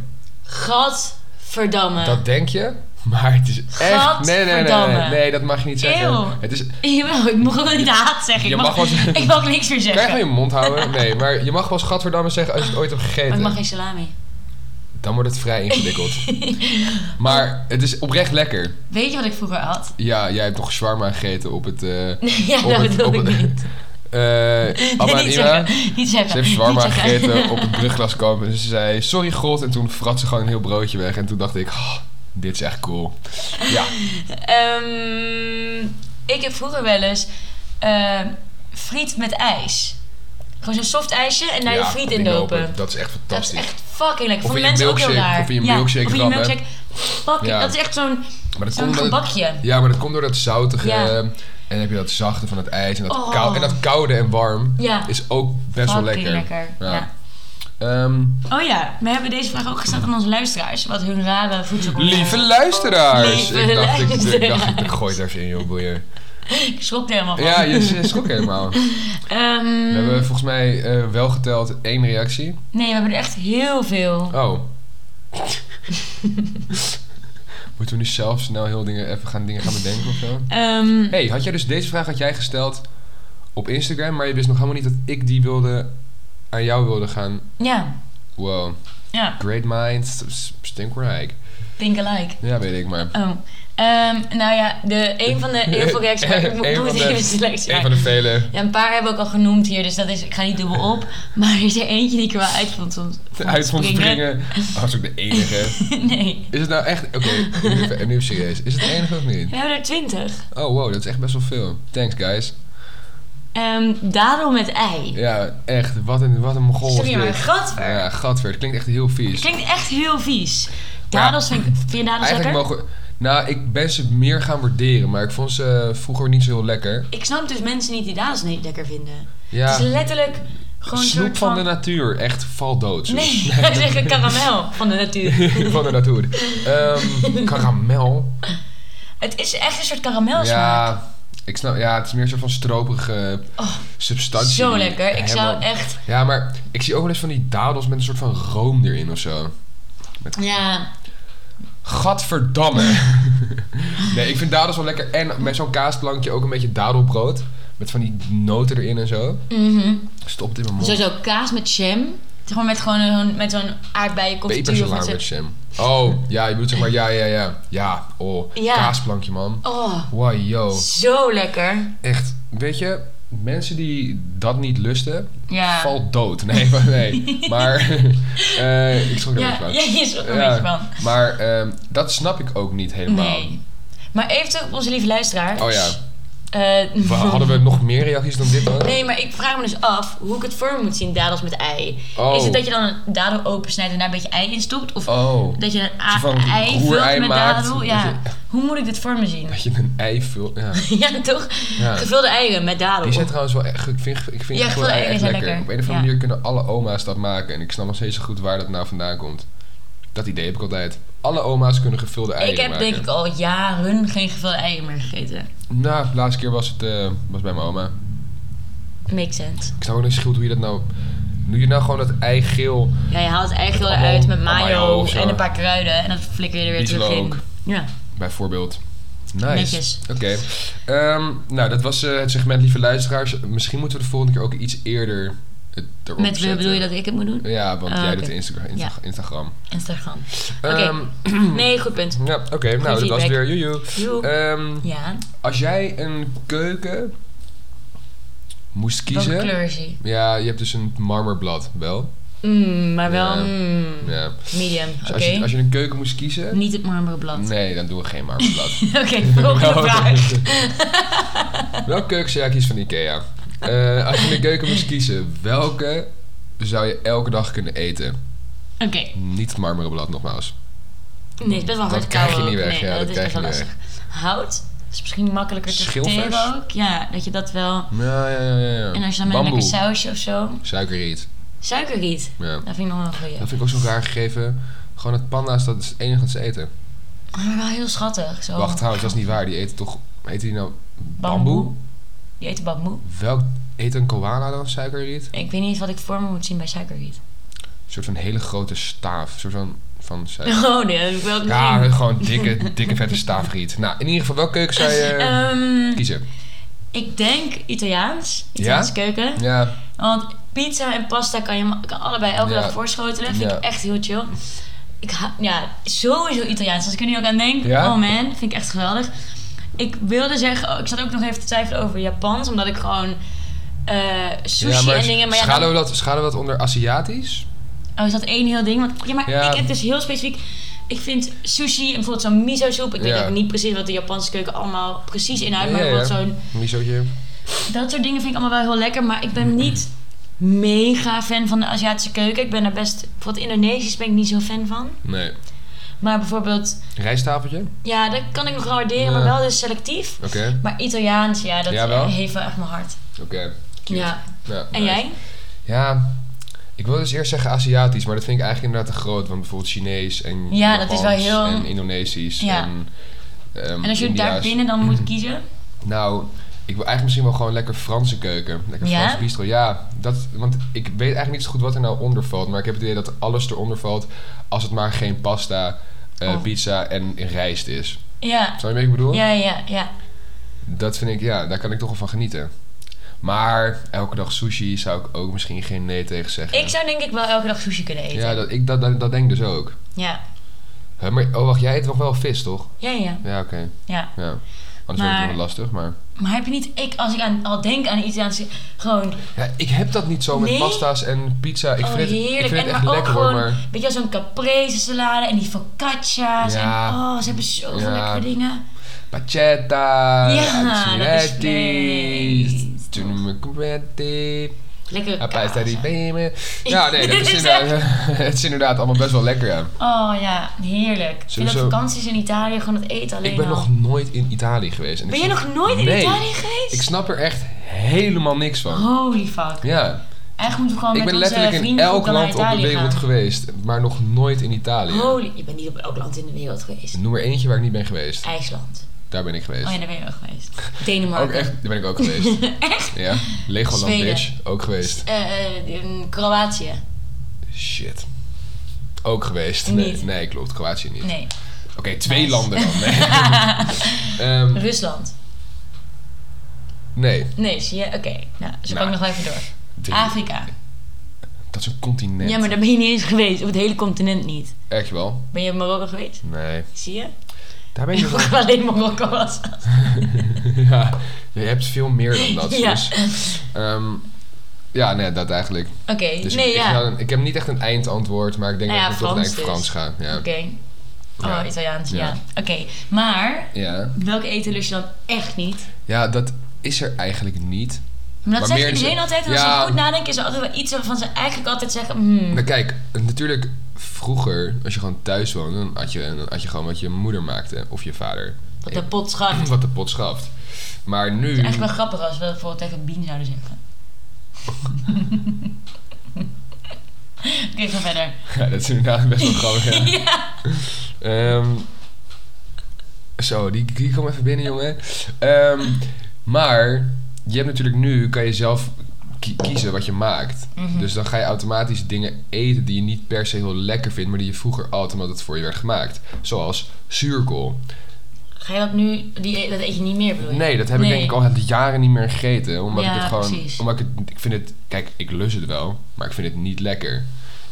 S2: Gadverdamme.
S1: Dat denk je, maar het is echt... Nee, nee, nee, nee,
S2: Ah. Gadverdamme.
S1: nee, dat mag je niet zeggen.
S2: Eeuw.
S1: Het is,
S2: Jawel, ik mag wel niet haat zeggen.
S1: Je
S2: Ik mag,
S1: mag wel zeggen-
S2: ik mag niks meer
S1: kan je
S2: zeggen.
S1: van je mond houden? Nee, maar je mag wel schatverdamme zeggen als je het ooit hebt
S2: Maar
S1: gegeten.
S2: Oh, ik mag geen salami.
S1: Dan wordt het vrij ingewikkeld. maar het is oprecht lekker.
S2: Weet je wat ik vroeger had?
S1: Ja, jij hebt nog shawarma gegeten op het... eh,
S2: ja,
S1: op
S2: dat
S1: het- op
S2: bedoel ik
S1: het-
S2: niet.
S1: eh, Abba
S2: Nee,
S1: en
S2: niet
S1: Ira.
S2: zeggen. Niet zeggen.
S1: Ze heeft
S2: niet
S1: shawarma
S2: zeggen.
S1: gegeten op het brugglaskamp en ze zei sorry god en toen vrat ze gewoon een heel broodje weg en toen dacht ik "Oh, dit is echt cool. Ja,
S2: Ehm, ik heb vroeger wel eens eh, friet met ijs. Gewoon zo'n soft ijsje en daar
S1: ja,
S2: je friet in
S1: die
S2: dopen.
S1: Dat is echt
S2: Dat is
S1: fantastisch.
S2: echt fucking lekker.
S1: Of
S2: Vonden
S1: in je
S2: mensen ook heel
S1: milkshake-
S2: raar.
S1: of in je
S2: Ja,
S1: milkshake
S2: of in je
S1: rammen.
S2: milkshake. Fucking,
S1: Ja.
S2: dat is echt zo'n
S1: maar dat
S2: zo'n
S1: komt omdat-
S2: gebakje.
S1: ja, maar dat komt door dat zoutige
S2: Ja.
S1: eh, en dan heb je dat zachte van het ijs en dat,
S2: Oh.
S1: kou- en dat koude en warm
S2: Ja.
S1: is ook best wel
S2: Fucking
S1: lekker. Ja.
S2: ja.
S1: Ehm,
S2: Oh ja, we hebben deze vraag ook gesteld aan onze luisteraars. Wat hun rare voedsel
S1: lieve luisteraars!
S2: Lieve
S1: ik, dacht, ik- Ik, dacht, ik,
S2: luisteraars.
S1: gooi het even in, joh, boeien.
S2: Ik schrok er helemaal van.
S1: Ja, je je schrok helemaal. We
S2: Ehm,
S1: hebben volgens mij eh, wel geteld één reactie.
S2: Nee, we hebben er echt heel veel.
S1: Oh. Moeten we nu zelf snel heel dingen, even gaan dingen gaan bedenken of zo?
S2: Ehm,
S1: hey, had jij dus deze vraag had jij gesteld op Instagram, maar je wist nog helemaal niet dat ik die wilde aan jou wilde gaan.
S2: Ja,
S1: Wow,
S2: ja,
S1: great minds s- stinkrijk.
S2: think alike.
S1: Ja, weet ik maar.
S2: Oh. Ehm, nou ja, de, een van de heel veel reacties, maar ik moet
S1: Een
S2: ik moet
S1: van de-
S2: even selectie
S1: Een van
S2: maken.
S1: de vele.
S2: Ja, een paar hebben we ook al genoemd hier, dus dat is, ik ga niet dubbel op. Maar er is er eentje die ik er wel uit vond. vond- vond
S1: Uit van
S2: springen.
S1: springen. Oh, dat is ook de enige.
S2: nee,
S1: Is het nou echt... Oké, nu even- nu even serieus. Is het de enige of niet?
S2: we hebben er twintig.
S1: Oh, wow, dat is echt best wel veel. Thanks, guys.
S2: Ehm dadel met ei.
S1: Ja, echt. Wat een, wat een mogol was
S2: Sorry, maar
S1: dit.
S2: gadver.
S1: Ja, gadver. Het klinkt echt heel vies.
S2: Klinkt echt heel vies. Dadels vind ik, vind je dadels
S1: Eigenlijk
S2: lekker?
S1: mogen... Nou, ik ben ze meer gaan waarderen, maar ik vond ze vroeger niet zo heel lekker.
S2: Ik snap dus mensen niet die dadels niet lekker vinden.
S1: Ja,
S2: Het is letterlijk gewoon een
S1: snoep
S2: soort
S1: van de natuur. Echt, val dood. zo.
S2: Nee, hij zegt een karamel van de natuur.
S1: van de natuur. Ehm, karamel.
S2: Het is echt een soort karamelsmaak.
S1: Ja, ik snap. Ja, het is meer een soort van stroperige substantie.
S2: Oh, Zo
S1: die
S2: lekker. Ik zou
S1: helemaal-
S2: echt...
S1: Ja, maar ik zie ook wel eens van die dadels met een soort van room erin of zo.
S2: Ja,
S1: Gadverdamme. nee, ik vind dadels wel lekker. En met zo'n kaasplankje ook een beetje dadelbrood. Met van die noten erin en zo.
S2: mhm.
S1: Stopt in mijn mond.
S2: Sowieso kaas met jam. Gewoon met gewoon een- met zo'n aardbeienconfituur. of met
S1: Pepersalade
S2: zo'n-
S1: met jam. Oh, ja, je bedoelt zeg maar ja, ja, ja. Ja, oh,
S2: Ja.
S1: kaasplankje man.
S2: Oh,
S1: Wow, yo.
S2: zo lekker.
S1: Echt, weet je, mensen die dat niet lusten,
S2: Ja.
S1: valt dood. Nee, maar, nee. maar eh, ik schrok er
S2: Ja,
S1: even van.
S2: ja, je schrok er een
S1: Ja,
S2: beetje van.
S1: Maar ehm, dat snap ik ook niet helemaal.
S2: Nee. Maar even op onze lieve luisteraars.
S1: Oh ja,
S2: Eh,
S1: we, hadden we nog meer reacties dan dit hoor?
S2: Nee, maar ik vraag me dus af hoe ik het voor me moet zien, dadels met ei.
S1: Oh.
S2: Is het dat je dan een dadel opensnijdt en daar een beetje ei in stopt? Of
S1: Oh,
S2: dat je een
S1: Zo
S2: a-
S1: van
S2: ei
S1: roerei
S2: vult met
S1: maakt,
S2: dadel?
S1: dat
S2: Ja.
S1: je-
S2: Hoe moet ik dit voor me zien?
S1: dat je een ei vult.
S2: Oh.
S1: Ja.
S2: ja, toch?
S1: Ja.
S2: Gevulde eieren met dadel.
S1: Die zijn trouwens wel echt. Ik vind, ik vind gevulde
S2: Ja,
S1: ei
S2: gevulde eieren
S1: echt
S2: zijn
S1: lekker.
S2: lekker.
S1: Op een of andere
S2: Ja.
S1: manier kunnen alle oma's dat maken. En ik snap nog steeds zo goed waar dat nou vandaan komt. Dat idee heb ik altijd. Alle oma's kunnen gevulde eieren
S2: ik heb
S1: maken.
S2: denk ik al jaren geen gevulde eieren meer gegeten.
S1: Nou, de laatste keer was het eh, was bij mijn oma.
S2: Makes sense.
S1: Ik snap ook niet zo goed hoe je dat nou... Doe je nou gewoon dat ei geel...
S2: Ja, je haalt eigenlijk wel
S1: allemaal-
S2: eruit met
S1: allemaal
S2: mayo
S1: of zo.
S2: en een paar kruiden en dat flikker je er weer terug
S1: Bieslook.
S2: in. Ja.
S1: Bijvoorbeeld. Nice.
S2: Netjes.
S1: Oké. Ehm, nou, dat was eh, het segment lieve luisteraars. Misschien moeten we de volgende keer ook iets eerder het erop
S2: Met wie
S1: zetten.
S2: bedoel je dat ik het moet doen?
S1: Ja, want
S2: Ah,
S1: jij
S2: oké.
S1: doet Instagram. Insta-
S2: Ja.
S1: Instagram.
S2: Instagram. Oké.
S1: Ehm,
S2: Nee, goed punt.
S1: ja, oké. nou, dat was
S2: feedback.
S1: weer joejoe.
S2: Joep.
S1: Ehm,
S2: Ja.
S1: als jij een keuken moest
S2: Welke
S1: kiezen...
S2: kleur is die?
S1: Ja, je hebt dus een marmerblad, wel.
S2: Mm, maar wel
S1: Ja.
S2: mm,
S1: Ja.
S2: medium. Oké.
S1: Dus als, je, als je een keuken moest kiezen...
S2: Niet het marmeren blad.
S1: Nee, Oh, dan doen we geen marmerblad.
S2: Oké, volgende
S1: Wel-
S2: vraag.
S1: Welke keuken zou jij kiezen van Ikea? Eh, als je een keuken moest kiezen, welke zou je elke dag kunnen eten?
S2: Oké.
S1: Niet het marmeren blad nogmaals.
S2: Nee, het is best wel
S1: Dat
S2: hard
S1: krijg je
S2: kauwen
S1: niet
S2: ook.
S1: weg,
S2: Nee,
S1: ja, dat
S2: is
S1: krijg
S2: best wel
S1: je niet
S2: lastig. Hout is misschien makkelijker te
S1: Schilfers?
S2: verteren ook. Ja, dat je dat wel...
S1: Ja, ja, ja. ja, ja.
S2: En als je dan met een
S1: Bamboe.
S2: lekker sausje of zo...
S1: Suikerriet.
S2: Suikerriet.
S1: Ja.
S2: Dat vind ik nog wel een goeie.
S1: Dat vind ik ook zo raar gegeven. Gewoon het panda's, dat is het enige dat ze eten.
S2: Maar wel heel schattig. Zo.
S1: Wacht trouwens, dat is niet waar. Die eten toch... Eten die nou bamboe?
S2: Bamboe. Die eten bamboe.
S1: Welk eet een koala dan suikerriet?
S2: Ik weet niet wat ik voor me moet zien bij suikerriet.
S1: Een soort van hele grote staaf. Een soort van, van suiker.
S2: Oh nee, dat heb ik wel gezien.
S1: Eh. Ja, gewoon dikke, dikke vette staafriet. Nou, in ieder geval, welke keuken zou je eh,
S2: Ehm,
S1: kiezen?
S2: ik denk Italiaans. Italiaanse keuken.
S1: Ja,
S2: Want pizza en pasta kan je ma- kan allebei elke
S1: Ja.
S2: dag voorschotelen. Vind
S1: Ja.
S2: ik echt heel chill. Ik ha- ja, sowieso Italiaans. Als ik er nu ook aan denk,
S1: Ja?
S2: oh man, vind ik echt geweldig. Ik wilde zeggen, oh, ik zat ook nog even te twijfelen over Japans, omdat ik gewoon eh, sushi en dingen. Maar ja,
S1: schaduwen,
S2: dan-
S1: we dat, schaduwen we dat onder Aziatisch?
S2: oh, is dat één heel ding? Want ja, maar
S1: Ja.
S2: ik heb dus heel specifiek. Ik vind sushi en bijvoorbeeld zo'n miso soep. Ik
S1: Ja.
S2: weet ook niet precies wat de Japanse keuken allemaal precies inhoudt.
S1: Ja,
S2: Maar
S1: ja,
S2: bijvoorbeeld
S1: ja.
S2: zo'n
S1: Misootje.
S2: dat soort dingen vind ik allemaal wel heel lekker. Maar ik ben niet mega fan van de Aziatische keuken. Ik ben er best... Bijvoorbeeld Indonesisch ben ik niet zo fan van.
S1: Nee.
S2: Maar bijvoorbeeld...
S1: Rijstafeltje? Oké.
S2: Ja, dat kan ik nog wel waarderen.
S1: Ja.
S2: Maar wel dus selectief. Maar Italiaans, ja, dat
S1: Jawel?
S2: heeft wel echt mijn hart.
S1: Oké. Cute.
S2: Ja.
S1: Ja,
S2: En
S1: nice.
S2: jij?
S1: Ja, ik wil dus eerst zeggen Aziatisch, maar dat vind ik eigenlijk inderdaad te groot. Want bijvoorbeeld Chinees en
S2: Ja, dat is wel
S1: Japans
S2: heel-
S1: en Indonesisch
S2: Ja.
S1: en ehm,
S2: En als je daar
S1: India's. Mm-hmm.
S2: binnen dan moet kiezen?
S1: Nou, ik wil eigenlijk misschien wel gewoon lekker Franse keuken. Lekker
S2: Ja?
S1: Franse bistro. Ja, dat, want ik weet eigenlijk niet zo goed wat er nou onder valt. Maar ik heb het idee dat alles eronder valt als het maar geen pasta, eh,
S2: Oh.
S1: pizza en rijst is.
S2: Ja.
S1: Zou je mee wat ik bedoel?
S2: Ja, ja, ja.
S1: Dat vind ik, ja, daar kan ik toch wel van genieten. Maar elke dag sushi zou ik ook misschien geen nee tegen zeggen.
S2: Ik zou denk ik wel elke dag sushi kunnen eten.
S1: ja, dat, ik, dat, dat, dat denk ik dus ook.
S2: Ja.
S1: Hè, maar, oh, wacht, jij eet nog wel vis, toch?
S2: Ja, ja,
S1: Ja, oké.
S2: ja.
S1: Ja. Anders wordt
S2: Maar-
S1: het wel lastig, maar...
S2: Maar heb je niet... Ik, als ik aan, al denk aan Italiaanse... Gewoon
S1: Ja, ik heb dat niet zo met
S2: Nee?
S1: pasta's en pizza. Ik
S2: oh,
S1: vind het,
S2: heerlijk.
S1: Ik vind
S2: en
S1: het echt
S2: maar ook
S1: lekker
S2: gewoon,
S1: hoor, maar...
S2: weet je wel, zo'n caprese salade en die focaccia's.
S1: Ja.
S2: En, oh, ze hebben zoveel
S1: Ja.
S2: lekkere dingen.
S1: Pachetta,
S2: Ja, dat is
S1: Chinetti,
S2: vlees.
S1: Tunumacumbetti,
S2: Lekkere kaas.
S1: Apaista di Beme. Ja, nee, dat
S2: Dit
S1: is
S2: is
S1: inderdaad, het is inderdaad allemaal best wel lekker, ja.
S2: Oh ja, heerlijk. Ik vind dat
S1: Sowieso.
S2: vakanties in Italië gewoon het eten alleen
S1: Ik ben
S2: al.
S1: nog nooit in Italië geweest. en ik
S2: Ben je
S1: snap-
S2: nog nooit in
S1: Nee.
S2: Italië geweest? Oh.
S1: Ik snap er echt helemaal niks van.
S2: Holy fuck.
S1: Ja,
S2: Eigenlijk moeten we gewoon
S1: ik
S2: met
S1: ben
S2: onze
S1: letterlijk in
S2: vrienden
S1: elk
S2: gewoon
S1: land op
S2: naar
S1: de
S2: Italië
S1: wereld
S2: gaan.
S1: geweest, maar nog nooit in Italië. Dus
S2: Holy, je bent niet op elk land in de wereld geweest.
S1: Noem er eentje waar ik niet ben geweest.
S2: IJsland.
S1: Daar ben ik
S2: Eh. Oh
S1: geweest.
S2: ja, daar ben je wel geweest.
S1: Ook
S2: Denemarken.
S1: echt, daar ben ik ook geweest.
S2: echt?
S1: Ja, Legoland
S2: Zweden.
S1: Bitch, ook geweest.
S2: Eh, eh, in Kroatië.
S1: Shit. Ook geweest.
S2: Niet.
S1: Nee, nee klopt. Kroatië niet.
S2: Nee.
S1: Oké, twee
S2: Nice.
S1: landen dan. Nee. Ehm,
S2: Rusland.
S1: nee.
S2: Nee, zie je? Oké. Nou, zo kan
S1: Nou.
S2: ik nog wel even door.
S1: Drie.
S2: Afrika.
S1: Dat is een continent.
S2: Ja, maar daar ben je niet eens geweest. Op het hele continent niet.
S1: Echt wel?
S2: Ben je in Marokko geweest?
S1: Nee.
S2: Zie je?
S1: Daar ben je
S2: Ik
S1: wel.
S2: ook alleen Marokko was.
S1: ja, je hebt veel meer dan dat.
S2: Ja.
S1: Dus, ehm, ja, nee, dat eigenlijk.
S2: Oké,
S1: Dus
S2: nee,
S1: ik, ik,
S2: ja.
S1: ga- ik heb niet echt een eindantwoord, maar ik denk
S2: Nou ja,
S1: dat ik toch
S2: Frans
S1: naar
S2: dus.
S1: Frans ga. Ja.
S2: Oké.
S1: Ja.
S2: Oh, Italiaans, ja.
S1: Ja.
S2: Oké, maar
S1: Ja.
S2: welke eten lust je dan echt niet?
S1: ja, dat is er eigenlijk niet.
S2: Maar dat
S1: Maar
S2: zegt
S1: meer is-
S2: iedereen altijd. En als
S1: ja.
S2: je goed nadenkt, is er altijd wel iets waarvan ze eigenlijk altijd zeggen... hmm,
S1: Maar kijk, natuurlijk vroeger, als je gewoon thuis woonde, dan had je, dan had je gewoon wat je moeder maakte of je vader.
S2: wat de pot schaft. Het
S1: Wat de pot schaft. Maar nu.
S2: is eigenlijk wel grappig als we dat bijvoorbeeld tegen Bien zouden zeggen. Oké, ga verder.
S1: Ja, dat is inderdaad best wel grappig. ja.
S2: Ja.
S1: Ehm, zo, die, die kwam even binnen, jongen. Ehm, maar je hebt natuurlijk nu, kan je zelf ki- kiezen wat je maakt.
S2: Mhm.
S1: Dus dan ga je automatisch dingen eten die je niet per se heel lekker vindt, maar die je vroeger altijd omdat het voor je werd gemaakt. Zoals zuurkool.
S2: Ga je dat nu... Die, dat eet je niet meer, bedoel je?
S1: Nee, dat heb ik
S2: Nee.
S1: denk ik al jaren niet meer gegeten. Omdat
S2: Ja,
S1: ik het gewoon.
S2: precies.
S1: Omdat ik het. Ik vind het. Kijk, ik lust het wel, maar ik vind het niet lekker.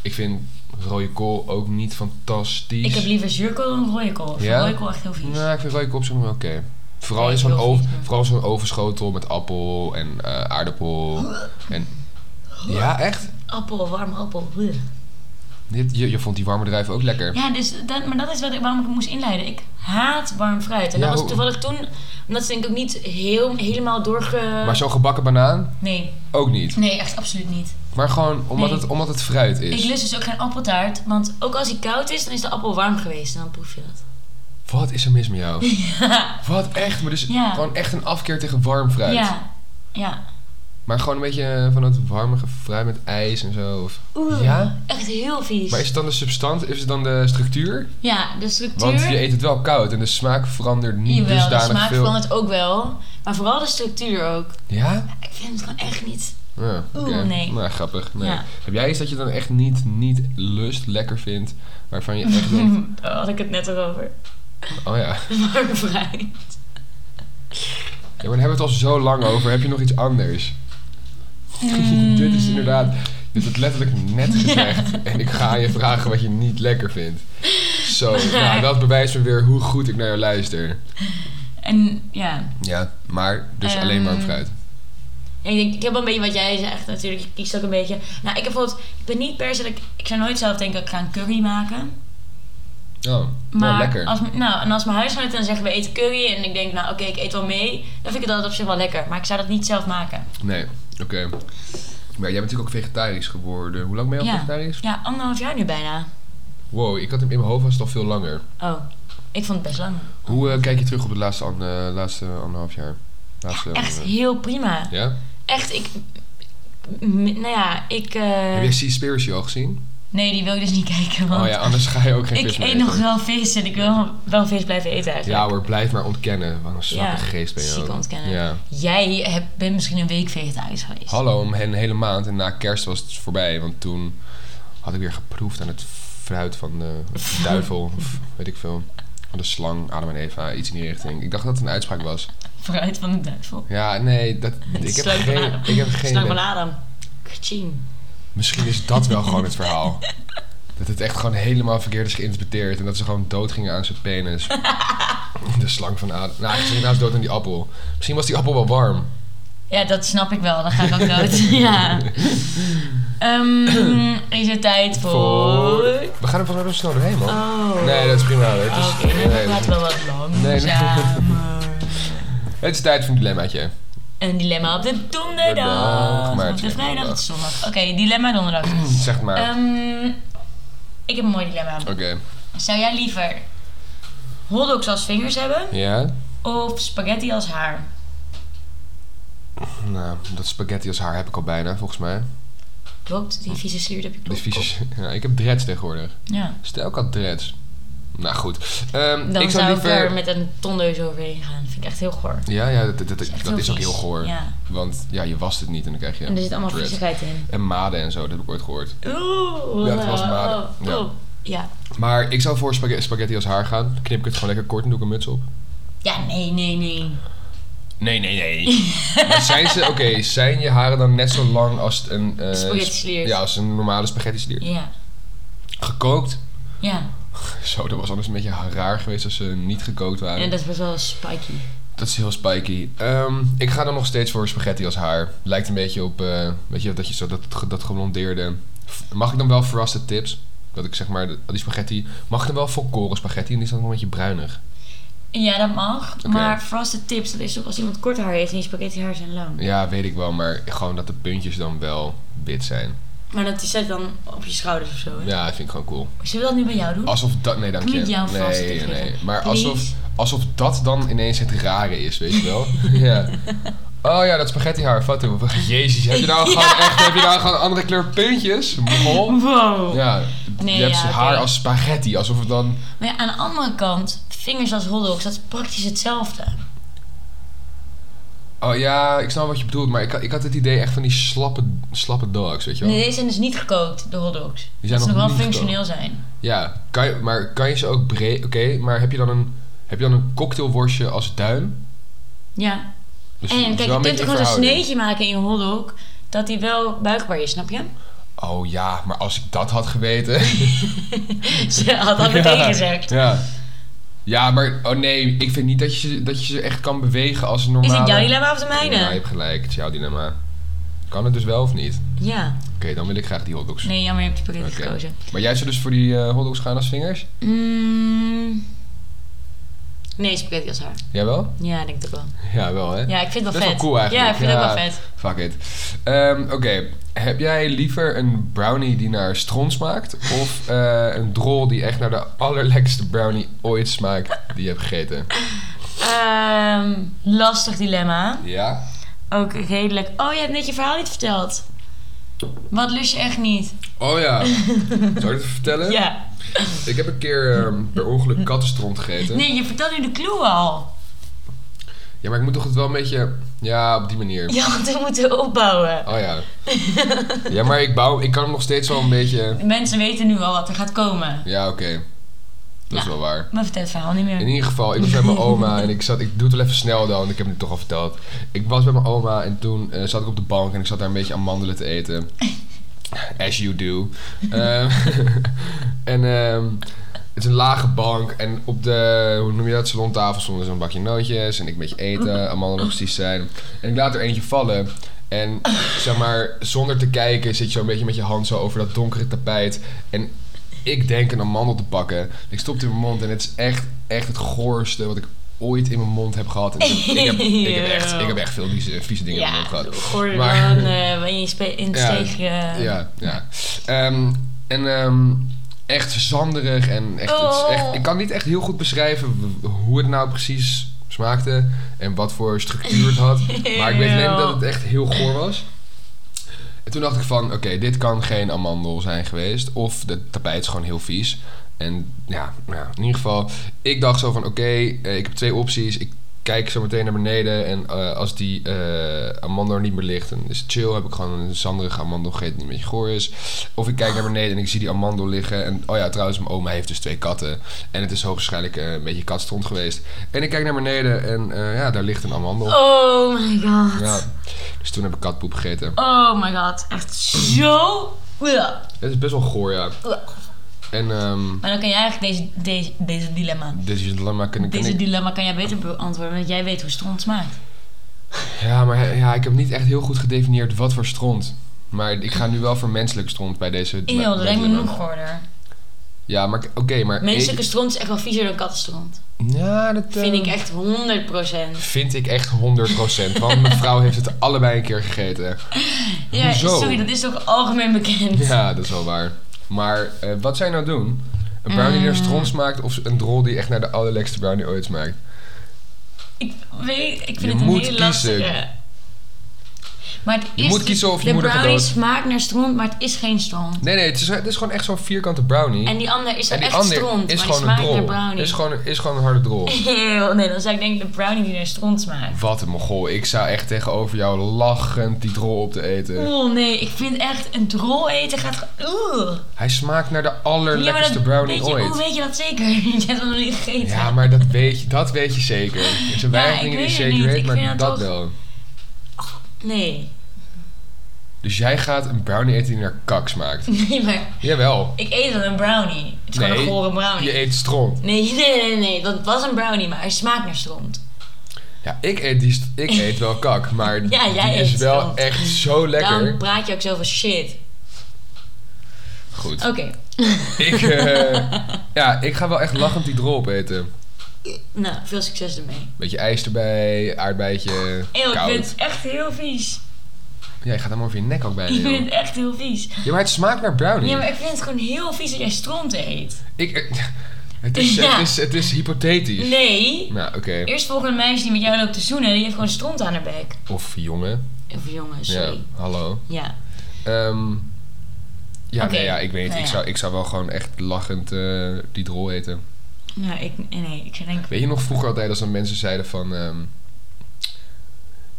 S1: Ik vind rode kool ook niet fantastisch.
S2: Ik heb liever zuurkool dan rode kool. Ik vind
S1: Ja?
S2: rode kool echt heel vies.
S1: Nou, ik vind rode kool op zich nog wel oké. Vooral
S2: Nee,
S1: in zo'n
S2: heel
S1: ov-
S2: vies, maar-
S1: vooral zo'n ovenschotel met appel en eh, aardappel. En, ja, echt?
S2: Appel, warm appel. bleh.
S1: Dit, je, je vond die warme druiven ook lekker.
S2: Ja, dus dat, maar dat is wat ik, waarom ik het moest inleiden. Ik haat warm fruit. En
S1: Ja,
S2: dat was
S1: hoe-
S2: toevallig toen, omdat ze denk ik ook niet heel, helemaal doorge...
S1: Maar zo'n gebakken banaan
S2: Nee,
S1: ook niet.
S2: nee, echt absoluut niet.
S1: Maar gewoon omdat,
S2: Nee.
S1: het, omdat het fruit
S2: Ik
S1: is.
S2: lust dus ook geen appeltaart, want ook als hij koud is, dan is de appel warm geweest. En dan proef je dat.
S1: Wat is er mis met jou? Wat echt? Maar dus
S2: Ja.
S1: gewoon echt een afkeer tegen warm fruit.
S2: Ja, ja.
S1: Maar gewoon een beetje eh, van dat warmige fruit met ijs en zo. Of...
S2: Oeh,
S1: Ja?
S2: echt heel vies.
S1: Maar is het dan de substantie, is het dan de structuur?
S2: Ja, de structuur.
S1: Want je eet het wel koud en de smaak verandert niet
S2: Jawel, dus de
S1: dusdanig
S2: smaak
S1: veel.
S2: verandert ook wel. Maar vooral de structuur ook.
S1: Ja?
S2: Ik vind het gewoon echt niet.
S1: ja
S2: Oeh,
S1: oké.
S2: nee.
S1: Nou, grappig. Nee.
S2: Ja.
S1: Heb jij iets dat je dan echt niet, niet lust, lekker vindt, waarvan je echt denkt,
S2: Daar had ik het net over.
S1: oh ja.
S2: Warm
S1: Ja,
S2: vrij.
S1: maar daar hebben we het al zo lang over. Heb je nog iets anders?
S2: Mm.
S1: dit is inderdaad... Dit wordt letterlijk net gezegd. En ik ga je vragen wat je niet lekker vindt. Zo, nou, dat bewijst me weer hoe goed ik naar jou luister.
S2: En ja.
S1: Ja, maar dus alleen warm
S2: Ehm,
S1: fruit.
S2: En ik, denk, ik heb wel een beetje wat jij zegt natuurlijk. Ik kies ook een beetje. Nou, ik heb bijvoorbeeld. Ik ben niet per se. dat Ik, ik zou nooit zelf denken. Ik ga een curry maken.
S1: Oh,
S2: Maar
S1: nou, lekker.
S2: Als, m- nou, en als mijn huisgenoten dan zeggen we eten curry. En ik denk, nou oké, ik eet wel mee. Dan vind ik het altijd op zich wel lekker. Maar ik zou dat niet zelf maken.
S1: Nee, oké. Maar jij bent natuurlijk ook vegetarisch geworden. Hoe lang ben je al
S2: Ja.
S1: vegetarisch?
S2: Ja, anderhalf jaar nu bijna.
S1: Wow, ik had hem in mijn hoofd was het al veel langer.
S2: Oh, ik vond het best lang.
S1: Hoe eh, kijk je terug op het laatste, an- eh, laatste anderhalf jaar? Laatste,
S2: Echt
S1: eh,
S2: heel prima.
S1: ja?
S2: Echt, ik. m- Nou ja, ik. eh,
S1: Heb je Seaspiracy al gezien?
S2: nee, die wil ik dus niet kijken. Want
S1: Oh ja, anders ga je ook geen
S2: ik
S1: vis meer
S2: eet
S1: eten.
S2: nog wel vis en ik wil wel vis blijven eten eigenlijk.
S1: Ja hoor, blijf maar ontkennen. Wat een zwakke
S2: Ja,
S1: geest ben je
S2: ziek
S1: ook.
S2: ontkennen.
S1: Ja.
S2: Jij hebt, bent misschien een week vegetarisch geweest.
S1: Hallo, om een hele maand en na kerst was het voorbij. Want toen had ik weer geproefd aan het fruit van de duivel. of weet ik veel. Van de slang, Adam en Eva, iets in die richting. Ik dacht dat het een uitspraak was.
S2: Fruit van de duivel.
S1: Ja, nee, dat, ik, heb
S2: Slang van
S1: geen,
S2: Adam.
S1: ik heb geen...
S2: Slang van Adam. Kaching.
S1: Misschien is dat wel gewoon het verhaal. Dat het echt gewoon helemaal verkeerd is geïnterpreteerd. En dat ze gewoon dood gingen aan zijn penis. De slang van Adam. Nou, ze gingen trouwens dood aan die appel. Misschien was die appel wel warm.
S2: Ja, dat snap ik wel. Dan ga ik ook dood. ja. Ehm, is het tijd voor...
S1: Voor- We gaan er van zo snel doorheen, man.
S2: Oh.
S1: Nee, dat is prima. Het is,
S2: Oké,
S1: nee,
S2: dan
S1: nee,
S2: gaat het wel wat dus
S1: nee.
S2: langzamer.
S1: het is tijd voor een dilemmaatje.
S2: Een dilemma op de
S1: Donderdag,
S2: donderdag.
S1: maar
S2: op de
S1: het is
S2: vrijdag,
S1: donderdag.
S2: op de zondag. Oké, dilemma donderdag.
S1: Zeg maar.
S2: Ehm, ik heb een mooi dilemma.
S1: Oké.
S2: Zou jij liever hotdogs als vingers hebben
S1: Ja?
S2: of spaghetti als haar?
S1: Nou, dat spaghetti als haar heb ik al bijna, volgens mij.
S2: Klopt, die vieze sliert heb je
S1: De
S2: klopt.
S1: vieze... Ja, ik heb dreads tegenwoordig.
S2: Ja.
S1: Stel, ik had dreads. Nou, goed. Ehm,
S2: Dan
S1: ik
S2: zou,
S1: zou
S2: ik
S1: liever...
S2: er met een tondeus overheen gaan. Vind ik echt heel goor.
S1: Ja, ja, dat, dat, dat,
S2: echt
S1: dat
S2: heel
S1: is ook
S2: vies.
S1: heel goor.
S2: Ja.
S1: Want ja, je wast het niet en dan krijg je
S2: En er zit allemaal
S1: dreads.
S2: viezigheid in.
S1: En maden en zo, dat heb ik ooit gehoord.
S2: Oeh.
S1: Ja, dat was maar-
S2: oh,
S1: ja.
S2: oh. Ja.
S1: Maar ik zou voor spaghe- spaghetti als haar gaan. Dan Knip ik het gewoon lekker kort en doe ik een muts op.
S2: Ja, nee, nee, nee.
S1: Nee, nee, nee. maar zijn ze, oké, zijn je haren dan net zo lang als een... eh,
S2: Spaghetti
S1: sp-
S2: sliert.
S1: Ja, als een normale spaghetti slier.
S2: Ja.
S1: Gekookt?
S2: Ja.
S1: Zo, dat was anders een beetje raar geweest als ze niet gekookt waren. dat...
S2: En dat is best wel spiky.
S1: is heel spiky. Ehm, ik ga dan nog steeds voor spaghetti als haar. Lijkt een beetje op, eh, weet je, dat je zo dat, ge- dat geblondeerde... F- Mag ik dan wel verraste tips? Dat ik zeg maar, de- die spaghetti... Mag ik dan wel volkoren spaghetti? En die is dan nog een beetje bruinig.
S2: Ja, dat mag.
S1: Oké.
S2: Maar frosted tips, dat is toch als iemand kort haar heeft en die spaghetti haar zijn lang.
S1: Ja, weet ik wel, maar gewoon dat de puntjes dan wel wit zijn.
S2: Maar dat zit dan op je schouders of zo. Hè?
S1: Ja, dat vind ik gewoon cool.
S2: Zullen we dat nu bij jou doen?
S1: Alsof dat... Nee, dank je.
S2: Niet jou
S1: nee,
S2: vast,
S1: nee,
S2: ik weet het.
S1: Maar
S2: Please.
S1: alsof, alsof dat dan ineens het rare is, weet je wel? ja. Oh ja, dat spaghetti haar. Fatou. Jezus, heb je nou
S2: Ja.
S1: gewoon echt... Heb je nou gewoon andere kleur puntjes? Mol?
S2: Wow.
S1: Ja.
S2: Nee,
S1: je hebt
S2: ja, oké.
S1: haar als spaghetti. Alsof het dan...
S2: Maar ja, aan de andere kant, vingers als hotdogs, dat is praktisch hetzelfde.
S1: Oh ja, ik snap wat je bedoelt. Maar ik, had- ik had het idee echt van die slappe, slappe dogs, weet je wel?
S2: Nee, deze zijn dus niet gekookt, de hotdogs.
S1: Die zijn
S2: Dat ze
S1: nog
S2: nog wel
S1: niet
S2: functioneel zijn.
S1: Ja, kan je, maar kan je ze ook breed... Oké, maar heb je dan een... Heb je dan een cocktailworstje als duim?
S2: Ja.
S1: Dus het
S2: En
S1: is wel
S2: kijk, je
S1: een
S2: kunt
S1: beetje in
S2: er gewoon een
S1: verhouding.
S2: sneetje maken in je hotdog, dat die wel buikbaar is, snap je?
S1: Oh ja, maar als ik dat had geweten...
S2: Ze had dat meteen gezegd.
S1: Ja. Ja, maar oh nee, ik vind niet dat je, ze- dat je ze echt kan bewegen als een
S2: Is
S1: normale...
S2: het jouw dilemma of de mijne?
S1: Ja,
S2: Ja,
S1: je hebt gelijk. Het is jouw dilemma. Kan het dus wel of niet? Oké, dan wil ik graag die hotdogs.
S2: Nee, jammer, je hebt de pakket
S1: Oké.
S2: gekozen.
S1: Maar jij zou dus voor die eh, hotdogs gaan als vingers?
S2: Mm. Nee, spaghetti als haar.
S1: Jij wel?
S2: Ja, ik denk ik wel.
S1: Ja, wel hè?
S2: Ja, ik vind het wel
S1: Dat is
S2: vet.
S1: wel cool eigenlijk.
S2: Ja, ik vind het
S1: Ja.
S2: ook wel vet.
S1: Fuck it. Ehm, Oké, heb jij liever een brownie die naar stront smaakt... of eh, een drol die echt naar de allerlekkerste brownie ooit smaakt die je hebt gegeten?
S2: Ehm, lastig dilemma.
S1: Ja?
S2: ook redelijk... Oh, je hebt net je verhaal niet verteld. Wat lust je echt niet?
S1: Oh ja, zou ik het vertellen?
S2: Ja.
S1: Ik heb een keer ehm, per ongeluk kattenstront gegeten.
S2: Nee, je vertelt nu de clue al.
S1: Ja, maar ik moet toch het wel een beetje... Ja, op die manier.
S2: Je had hem moeten opbouwen.
S1: Oh ja. Ja, maar ik, bouw, ik kan hem nog steeds wel een beetje...
S2: De mensen weten nu al wat er gaat komen.
S1: Ja, oké. Dat is
S2: Ja.
S1: wel waar.
S2: Maar vertel het verhaal niet
S1: In
S2: meer.
S1: ieder geval, ik was bij mijn oma en ik zat... Ik doe het wel even snel dan, ik heb het toch al verteld. Ik was bij mijn oma en toen eh, zat ik op de bank en ik zat daar een beetje amandelen te eten. As you do. Ehm, en ehm, het is een lage bank en op de, hoe noem je dat, salontafel stonden zo'n bakje nootjes en ik een beetje eten, amandelen precies zijn. En ik laat er eentje vallen en zeg maar, zonder te kijken zit je zo'n beetje met je hand zo over dat donkere tapijt en ik denk een amandel te pakken. Ik stop het in mijn mond en het is echt, echt het goorste wat ik ooit in mijn mond heb gehad. En ik, heb, ik, heb, ik heb echt, ik heb echt veel vieze, vieze dingen in mijn
S2: Ja,
S1: mond gehad.
S2: hoor dan
S1: Maar-
S2: eh, ben je spe- in de
S1: Ja,
S2: steeg... eh,
S1: Ja, ja. Ehm, en ehm, echt zanderig en echt, het is echt... Ik kan niet echt heel goed beschrijven w- hoe het nou precies smaakte en wat voor structuur het had. Maar ik weet alleen dat het echt heel goor was. En toen dacht ik van, oké, dit kan geen amandel zijn geweest. Of het tapijt is gewoon heel vies. En ja, nou ja, in ieder geval, ik dacht zo van, oké, eh, ik heb twee opties. Ik kijk zo meteen naar beneden en eh, als die eh, amandel er niet meer ligt, dan is het chill. Heb ik gewoon een zanderige amandel gegeten die een beetje goor is. Of ik kijk naar beneden en ik zie die amandel liggen. En oh ja, trouwens, mijn oma heeft dus twee katten. En het is hoogstwaarschijnlijk eh, een beetje katstront geweest. En ik kijk naar beneden en eh, ja, daar ligt een amandel.
S2: Oh my god.
S1: Ja. Dus toen heb ik katpoep gegeten.
S2: Oh my god. Echt zo... Ja.
S1: Het is best wel goor, ja. En ehm
S2: Maar dan kan jij eigenlijk deze, deze, deze dilemma...
S1: dit is het dilemma kunnen
S2: Deze
S1: ik...
S2: dilemma kan jij beter beantwoorden, want jij weet hoe stront smaakt.
S1: Ja, maar he- ja, ik heb niet echt heel goed gedefinieerd wat voor stront. Maar ik ga nu wel voor menselijk stront bij deze... bij-
S2: Eeuw,
S1: bij
S2: dat lijkt me
S1: dilemma.
S2: nog goorder.
S1: Ja, maar k- oké, maar...
S2: Menselijke
S1: ik-
S2: stront is echt wel viezer dan kattenstront.
S1: Ja, dat... eh,
S2: Vind ik echt 100%.
S1: Vind ik echt 100%. Want mijn vrouw heeft het allebei een keer gegeten.
S2: Ja,
S1: Hoezo?
S2: sorry, dat is ook algemeen bekend.
S1: Ja, dat is wel waar. Maar eh, wat zij nou doen? Een brownie
S2: Mm.
S1: die naar stront smaakt of een drol die echt naar de allerlekste brownie ooit smaakt?
S2: Ik, weet, ik vind
S1: Je
S2: het een
S1: moet
S2: hele
S1: kiezen.
S2: lastige. Maar het
S1: Je
S2: is
S1: moet kiezen of je
S2: de
S1: moeder
S2: brownie
S1: gedood.
S2: smaakt naar stront, maar het is geen stront.
S1: Nee, nee, het is, het is gewoon echt zo'n vierkante brownie.
S2: En die ander is
S1: En
S2: wel
S1: die
S2: echt
S1: ander
S2: stront,
S1: is
S2: maar
S1: gewoon
S2: die
S1: een
S2: smaakt
S1: drol.
S2: naar brownie.
S1: Is gewoon, is gewoon een harde drol.
S2: Eeuw, Oh, nee, dan zou ik denken de brownie die naar stront smaakt.
S1: Wat een mogol. Ik zou echt tegenover jou lachend die drol op te eten.
S2: Oeh, Oh, nee, ik vind echt een drol eten gaat... ge- Oeh.
S1: Hij smaakt naar de
S2: Ja, maar
S1: allerlekkerste
S2: dat
S1: brownie
S2: weet je, Hoe
S1: ooit.
S2: weet je dat zeker? Je hebt hem nog niet gegeten.
S1: Ja, maar dat weet je, dat weet je zeker. Er zijn
S2: Ja,
S1: weinig
S2: ik
S1: dingen die
S2: weet
S1: je
S2: het
S1: zeker
S2: niet.
S1: weet,
S2: Ik
S1: maar
S2: vind dat
S1: dat
S2: toch-
S1: wel.
S2: Nee.
S1: Dus jij gaat een brownie eten die naar kak smaakt.
S2: Nee, maar
S1: Jawel.
S2: ik eet dan een brownie. Het is gewoon
S1: Nee,
S2: een gore brownie.
S1: Je eet stront.
S2: Nee, nee, nee, nee. Dat was een brownie, maar hij smaakt naar stront.
S1: Ja, ik eet, die, st- ik eet wel kak, maar
S2: Ja, jij
S1: die is
S2: eet
S1: wel
S2: stront.
S1: echt zo lekker.
S2: Daarom praat je ook zo van shit.
S1: Goed.
S2: Oké.
S1: Ik, eh, ja, ik ga wel echt lachend die drol opeten.
S2: Nou, veel succes ermee.
S1: Beetje ijs erbij, aardbeidje,
S2: Eeuw, ik
S1: koud.
S2: vind het echt heel vies.
S1: Ja, je gaat hem over je nek ook bijna.
S2: Ik vind
S1: joh.
S2: het echt heel vies.
S1: Ja, maar het smaakt naar brownie.
S2: Ja, maar ik vind het gewoon heel vies dat jij stront eet.
S1: ik, eh, het, is,
S2: Ja.
S1: het, is, het is hypothetisch.
S2: Nee.
S1: Nou, oké.
S2: Eerst volgende meisje die met jou loopt te zoenen, die heeft gewoon stront aan haar bek.
S1: Of jongen.
S2: Of jongen,
S1: Ja,
S2: sorry.
S1: hallo.
S2: Ja.
S1: Ehm, ja,
S2: Oké.
S1: nee, ja, ik weet.
S2: Nou
S1: ik,
S2: ja.
S1: zou, ik zou wel gewoon echt lachend eh, die drol eten.
S2: Nou, ik, nee, ik zou denken...
S1: Weet je nog vroeger altijd als dan mensen zeiden van... ehm,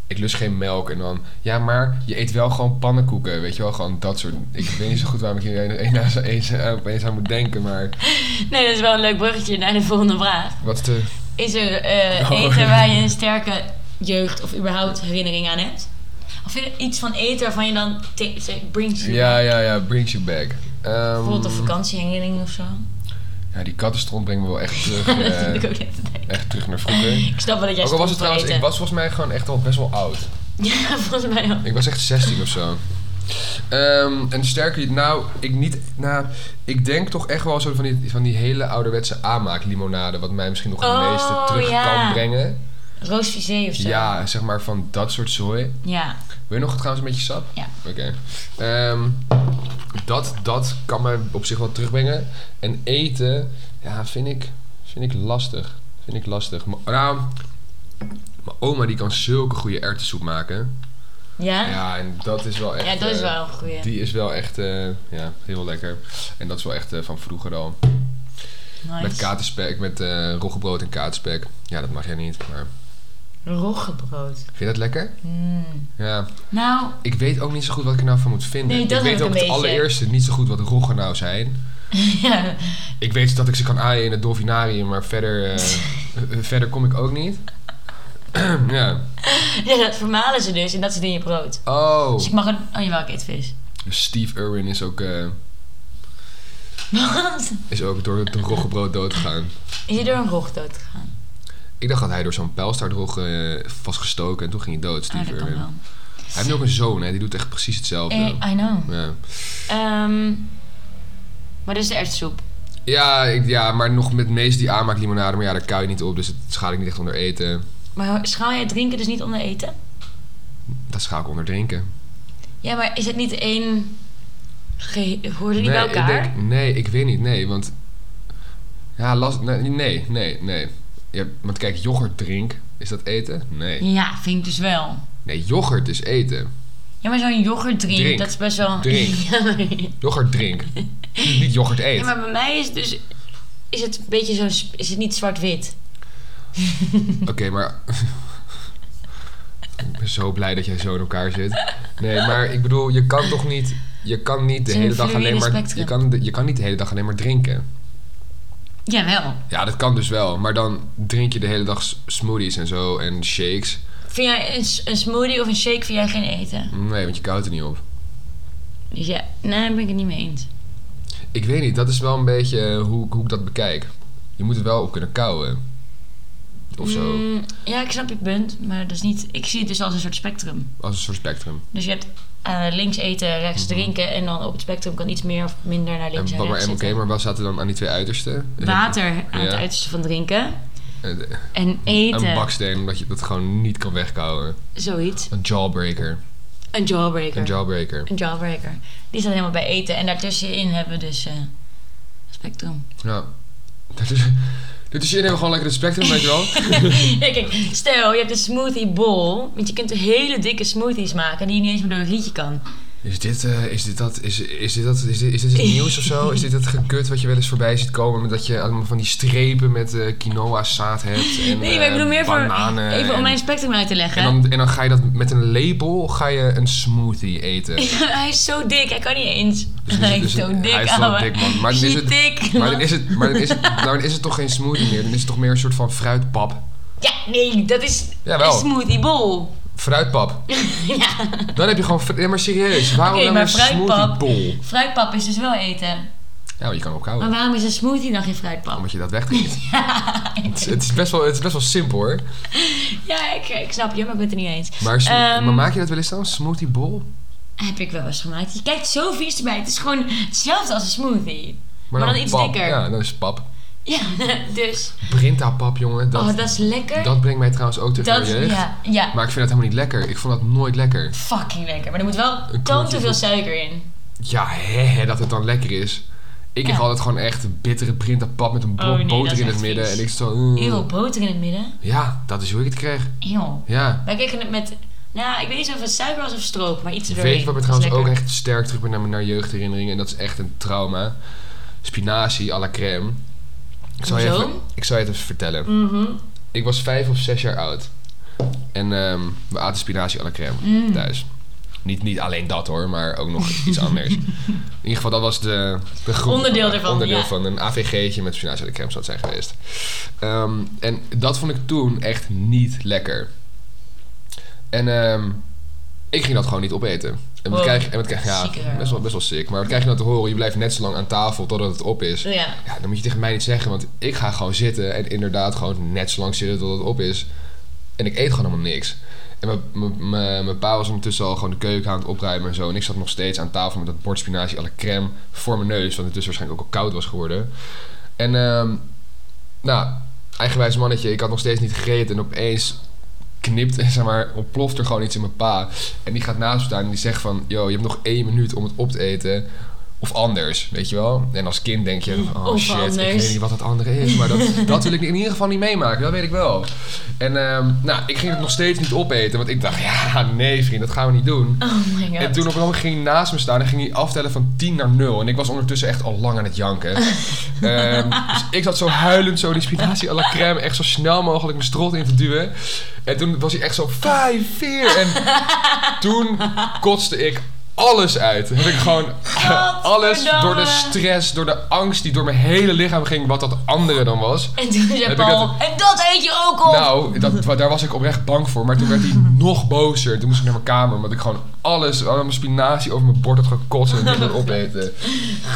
S1: ik lust geen melk. En dan... Ja, maar je eet wel gewoon pannenkoeken. Weet je wel, gewoon dat soort... Ik weet niet zo goed waarom ik hier een- een- aan- eens- aan- opeens aan moet denken. Maar
S2: Nee, dat is wel een leuk bruggetje naar de volgende vraag.
S1: wat is de...
S2: Is er eh,
S1: Oh.
S2: eten waar je een sterke jeugd of überhaupt herinnering aan hebt? Of vind je iets van eten waarvan je dan te- te- brings you
S1: Ja, ja, ja. Brings you back. Ehm,
S2: Bijvoorbeeld een vakantieherinnering of zo.
S1: Ja, die kattenstront brengt me wel echt terug,
S2: dat
S1: eh,
S2: vind ik ook net te denken.
S1: echt terug naar vroeger.
S2: Ik snap wel dat jij
S1: Ook al was het
S2: stond te
S1: trouwens, ik
S2: eten.
S1: was volgens mij gewoon echt al best wel oud.
S2: Ja, volgens mij ook.
S1: Ik was echt 16 of zo. Ehm, en sterker, nou, ik niet, nou, ik denk toch echt wel zo van die, van die hele ouderwetse aanmaaklimonade, wat mij misschien nog het
S2: Oh,
S1: meeste terug
S2: ja.
S1: kan brengen.
S2: Roosvisé of zo.
S1: Ja, zeg maar van dat soort zooi.
S2: Ja.
S1: Wil je nog trouwens een beetje sap?
S2: Ja.
S1: Oké. Ehm, dat, dat kan mij op zich wel terugbrengen. En eten, ja, vind ik, vind ik lastig. Vind ik lastig. Maar, nou, Mijn oma die kan zulke goede erwtensoep maken.
S2: Ja? Ja,
S1: Ja, en dat is wel echt...
S2: Ah. dat is
S1: eh,
S2: wel een goeie.
S1: Die is wel echt eh, ja, heel lekker. En dat is wel echt eh, van vroeger al.
S2: nice.
S1: Met katerspek, met eh roggebrood en katerspek. Ja, dat mag jij niet, maar...
S2: Roggebrood.
S1: Vind je dat lekker?
S2: Mm.
S1: Ja.
S2: Nou,
S1: Ik weet ook niet zo goed wat ik er nou van moet vinden.
S2: Nee, dat
S1: ik
S2: heb
S1: weet
S2: ik
S1: ook
S2: een
S1: het
S2: beetje.
S1: allereerste niet zo goed wat roggen nou zijn.
S2: ja.
S1: Ik weet dat ik ze kan aaien in het dolfinarium, maar verder, eh, eh, verder kom ik ook niet. ja.
S2: ja, dat vermalen ze dus en dat zit in je brood.
S1: Oh,
S2: Dus ik mag een... Oh jawel, ik eet vis.
S1: Steve Irwin is ook, eh,
S2: Wat?
S1: is ook door het roggebrood doodgegaan.
S2: Is hij door een rog dood gegaan?
S1: Ik dacht dat hij door zo'n pijlstaartrogge eh, vastgestoken en toen ging hij dood,
S2: Ah,
S1: Steve
S2: dat kan
S1: Irwin.
S2: wel.
S1: Hij heeft nu ook een zoon, hè? die doet echt precies hetzelfde.
S2: Eh, I know.
S1: Ja.
S2: Ehm maar dit is de erwtensoep.
S1: Ja, ik- ja, maar nog met meest die aanmaakt limonade, maar ja, daar kuil je niet op, dus dat schaal ik niet echt onder eten.
S2: Maar schaal jij drinken dus niet onder eten?
S1: Dat schaal ik onder drinken.
S2: Ja, maar is het niet één... Ge... Hoorden die bij
S1: ik
S2: elkaar?
S1: denk- nee, ik weet niet. Nee, want... Ja, last, nee, nee, nee. nee. Ja, want kijk, yoghurt drink. Is dat eten? Nee.
S2: Ja, vind ik dus wel.
S1: Nee, yoghurt is eten.
S2: Ja, maar zo'n yoghurt drink,
S1: Drink.
S2: dat is best wel...
S1: Drink.
S2: Ja, maar...
S1: Yoghurt drink. niet yoghurt
S2: Ja,
S1: eten.
S2: maar bij mij is dus... Is het een beetje zo'n... sp- Is het niet zwart-wit?
S1: Oké, maar... ik ben zo blij dat jij zo in elkaar zit. Nee, maar ik bedoel, je kan toch niet... Je kan niet de
S2: Het is een
S1: hele dag alleen
S2: fluïde
S1: maar...
S2: spectrum.
S1: Je kan, de- je kan niet de hele dag alleen maar drinken.
S2: Jawel.
S1: Ja, dat kan dus wel. Maar dan drink je de hele dag s- smoothies en zo en shakes.
S2: Vind jij een, s- een smoothie of een shake vind jij geen eten?
S1: Nee, want je koudt er niet op.
S2: Dus ja, nee, daar ben ik het niet mee eens.
S1: Ik weet niet, dat is wel een beetje eh, hoe, ik- hoe ik dat bekijk. Je moet er wel op kunnen kouwen. Of zo.
S2: Mm, ja, ik snap je punt, maar dat is niet... Ik zie het dus als een soort spectrum.
S1: Als een soort spectrum.
S2: Dus je hebt eh, links eten, rechts drinken... en dan op het spectrum kan iets meer of minder naar
S1: Mhm. En,
S2: links en,
S1: wat- maar,
S2: rechts
S1: en oké,
S2: zitten.
S1: maar wat zaten dan aan die twee uitersten?
S2: Water aan het
S1: Ja.
S2: uiterste van drinken.
S1: Een, een-
S2: En
S1: een
S2: eten,
S1: baksteen, omdat je dat gewoon niet kan wegkouwen.
S2: zoiets.
S1: Een jawbreaker.
S2: Een jawbreaker.
S1: Een jawbreaker.
S2: Een jawbreaker. Die staat helemaal bij eten. En daartussenin hebben we dus eh, spectrum.
S1: Ja. Dat is, dit is iedereen gewoon lekker het spectrum, weet je wel?
S2: ja, kijk, stel je hebt een smoothie bowl. Want je kunt hele dikke smoothies maken die je niet eens meer door een rietje kan.
S1: Is dit, eh, is dit dat, is, is dit dat, is dit, is dit het nieuws of zo? Is dit het gekut wat je wel eens voorbij ziet komen? met Dat je allemaal van die strepen met eh, quinoa zaad hebt en
S2: Nee, maar ik bedoel
S1: eh,
S2: meer voor.
S1: bananen
S2: Even om
S1: en-
S2: mijn spectrum uit te leggen.
S1: En dan, en dan ga je dat met een lepel ga je een smoothie eten. Dus
S2: hij is zo dik, hij kan niet eens. hij is
S1: dus-
S2: zo dik,
S1: hij is wel
S2: ouwe.
S1: dik, man. Maar dan is
S2: Zie
S1: het-
S2: dik,
S1: Maar dan
S2: man.
S1: is het, maar dan is het, nou, dan is het toch geen smoothie meer. Dan is het toch meer een soort van fruitpap.
S2: Ja, nee, dat is
S1: Jawel.
S2: een smoothie bowl.
S1: Fruitpap.
S2: ja.
S1: Dan heb je gewoon... fr- Ja, maar serieus. Waarom
S2: Oké,
S1: dan
S2: maar
S1: een
S2: fruitpap-
S1: smoothiebol?
S2: Fruitpap is dus wel eten.
S1: Ja, maar je kan ook
S2: Maar
S1: houden.
S2: waarom is een smoothie dan geen fruitpap?
S1: Omdat je dat wegdrinkt. Het, is- het, is best wel, het is best wel simpel, hoor.
S2: Ja, ik, ik snap je, maar ik ben het er niet eens.
S1: Maar, smo-
S2: Ehm,
S1: maar maak je dat wel eens dan? Smoothiebol?
S2: Heb ik wel eens gemaakt. Je kijkt zo vies erbij. Het is gewoon hetzelfde als een smoothie. Maar dan iets
S1: pap.
S2: dikker.
S1: Ja, dan is het pap.
S2: Ja, dus.
S1: Brintapap, jongen. Dat,
S2: oh, dat is lekker.
S1: dat brengt mij trouwens ook terug naar
S2: Dat-
S1: de jeugd.
S2: ja, ja.
S1: Maar ik vind dat helemaal niet lekker. Ik vond dat nooit lekker.
S2: Fucking lekker. Maar er moet wel
S1: Een
S2: toon
S1: klontje
S2: te veel
S1: goed.
S2: suiker in.
S1: Ja, hè, hè, dat het dan lekker is. Ik kreeg
S2: Ja.
S1: altijd gewoon echt bittere printerpap met een blok
S2: Oh nee, dat
S1: boter
S2: is
S1: in het
S2: echt
S1: midden.
S2: vies.
S1: En ik zo... mm.
S2: Eeuw, boter in het midden.
S1: Ja, dat is hoe ik het kreeg.
S2: Eeuw.
S1: Ja.
S2: Wij kregen het met... Nou, ik weet niet of het suiker was of stroop, maar iets erdoorheen.
S1: Weet je wat me
S2: Dat
S1: trouwens
S2: was
S1: ook
S2: lekker.
S1: echt sterk terug brengt naar mijn naar jeugdherinneringen? En dat is echt een trauma. Spinazie à la crème. Ik zal, je
S2: Hoezo?
S1: even, ik zal je het even vertellen.
S2: Mhm.
S1: Ik was vijf of zes jaar oud. En ehm, we aten spinazie à la crème
S2: Mm.
S1: thuis. Niet, niet alleen dat hoor, maar ook nog iets anders. In ieder geval, dat was de, de groep.
S2: Onderdeel ervan,
S1: Onderdeel
S2: ja.
S1: van een AVG'tje met spinazie à la crème zou het zijn geweest. Ehm, en dat vond ik toen echt niet lekker. En ehm, ik ging dat gewoon niet opeten. En wat
S2: Wow.
S1: krijg je? en wat krijg, ja,
S2: Zieke girl.
S1: best wel, best wel sick. Maar wat krijg je nou te horen? Je blijft net zo lang aan tafel totdat het op is.
S2: Ja.
S1: Ja, dan moet je tegen mij niet zeggen, want ik ga gewoon zitten en inderdaad gewoon net zo lang zitten tot het op is. En ik eet gewoon helemaal niks. En mijn- mijn- mijn mijn pa was ondertussen al gewoon de keuken aan het opruimen en zo. En ik zat nog steeds aan tafel met dat bord spinazie à la crème voor mijn neus, want het dus waarschijnlijk ook al koud was geworden. En ehm, nou, eigenwijs mannetje, ik had nog steeds niet gegeten en opeens knipt, zeg maar, ontploft er gewoon iets in mijn pa. En die gaat naast me staan en die zegt van, yo, je hebt nog één minuut om het op te eten. Of anders, weet je wel. En als kind denk je, oh
S2: Of
S1: shit, ik
S2: anders.
S1: weet niet wat dat andere is. Maar dat, dat wil ik in ieder geval niet meemaken, dat weet ik wel. En ehm, nou, ik ging het nog steeds niet opeten. Want ik dacht, ja, nee vriend, dat gaan we niet doen.
S2: Oh my god.
S1: En toen op een moment ging hij naast me staan en ging hij aftellen van 10 naar 0. En ik was ondertussen echt al lang aan het janken. Ehm, dus ik zat zo huilend, zo die spinazie à la crème, echt zo snel mogelijk mijn strot in te duwen. En toen was hij echt zo 5, 4. En toen kotste ik alles uit. Heb ik gewoon alles door de stress, door de angst die door mijn hele lichaam ging, wat dat andere dan was.
S2: En toen zei
S1: Heb ik
S2: Paul, en dat eet je ook op!
S1: Nou, dat, wa- daar was ik oprecht bang voor. Maar toen werd hij nog bozer. En Toen moest ik naar mijn kamer. Omdat ik gewoon alles, allemaal mijn spinazie over mijn bord had gekotst. En het niet meer opeten.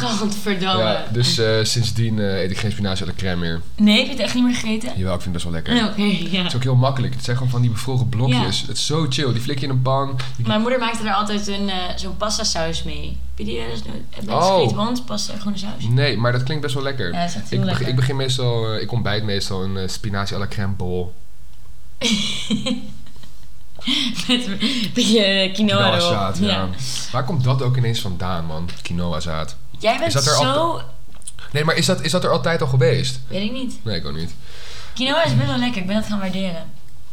S2: Godverdomme.
S1: Ja, dus eh, sindsdien eh, eet ik geen spinazie à la crème meer.
S2: Nee, heb je het echt niet meer gegeten? Oh,
S1: Jawel, ik vind het best wel lekker.
S2: Oké, ja.
S1: Het is ook heel makkelijk. Het zijn gewoon van die bevroren blokjes.
S2: Ja.
S1: Het is zo chill. Die flik je in een pan. Die-
S2: Mijn moeder maakte er altijd een, eh, zo'n pasta saus mee. Heb je die wel eens nooit? Heb je
S1: Oh.
S2: gegeten? Want pasta en groene saus.
S1: Nee, maar dat klinkt best wel lekker.
S2: Ja, dat is echt heel
S1: ik, beg-
S2: lekker.
S1: ik begin meestal, eh, ik ontbijt meestal een eh, spinazie à la crème bol.
S2: Met een beetje eh, quinoa erop.
S1: Quinoazaad, ja. Waar komt dat ook ineens vandaan, man? Quinoazaad.
S2: Jij bent
S1: Is dat er
S2: zo...
S1: Nee, maar is dat, is dat er altijd al geweest?
S2: Weet ik niet.
S1: Nee, ik ook niet.
S2: Quinoa is best wel lekker. Ik ben dat gaan waarderen.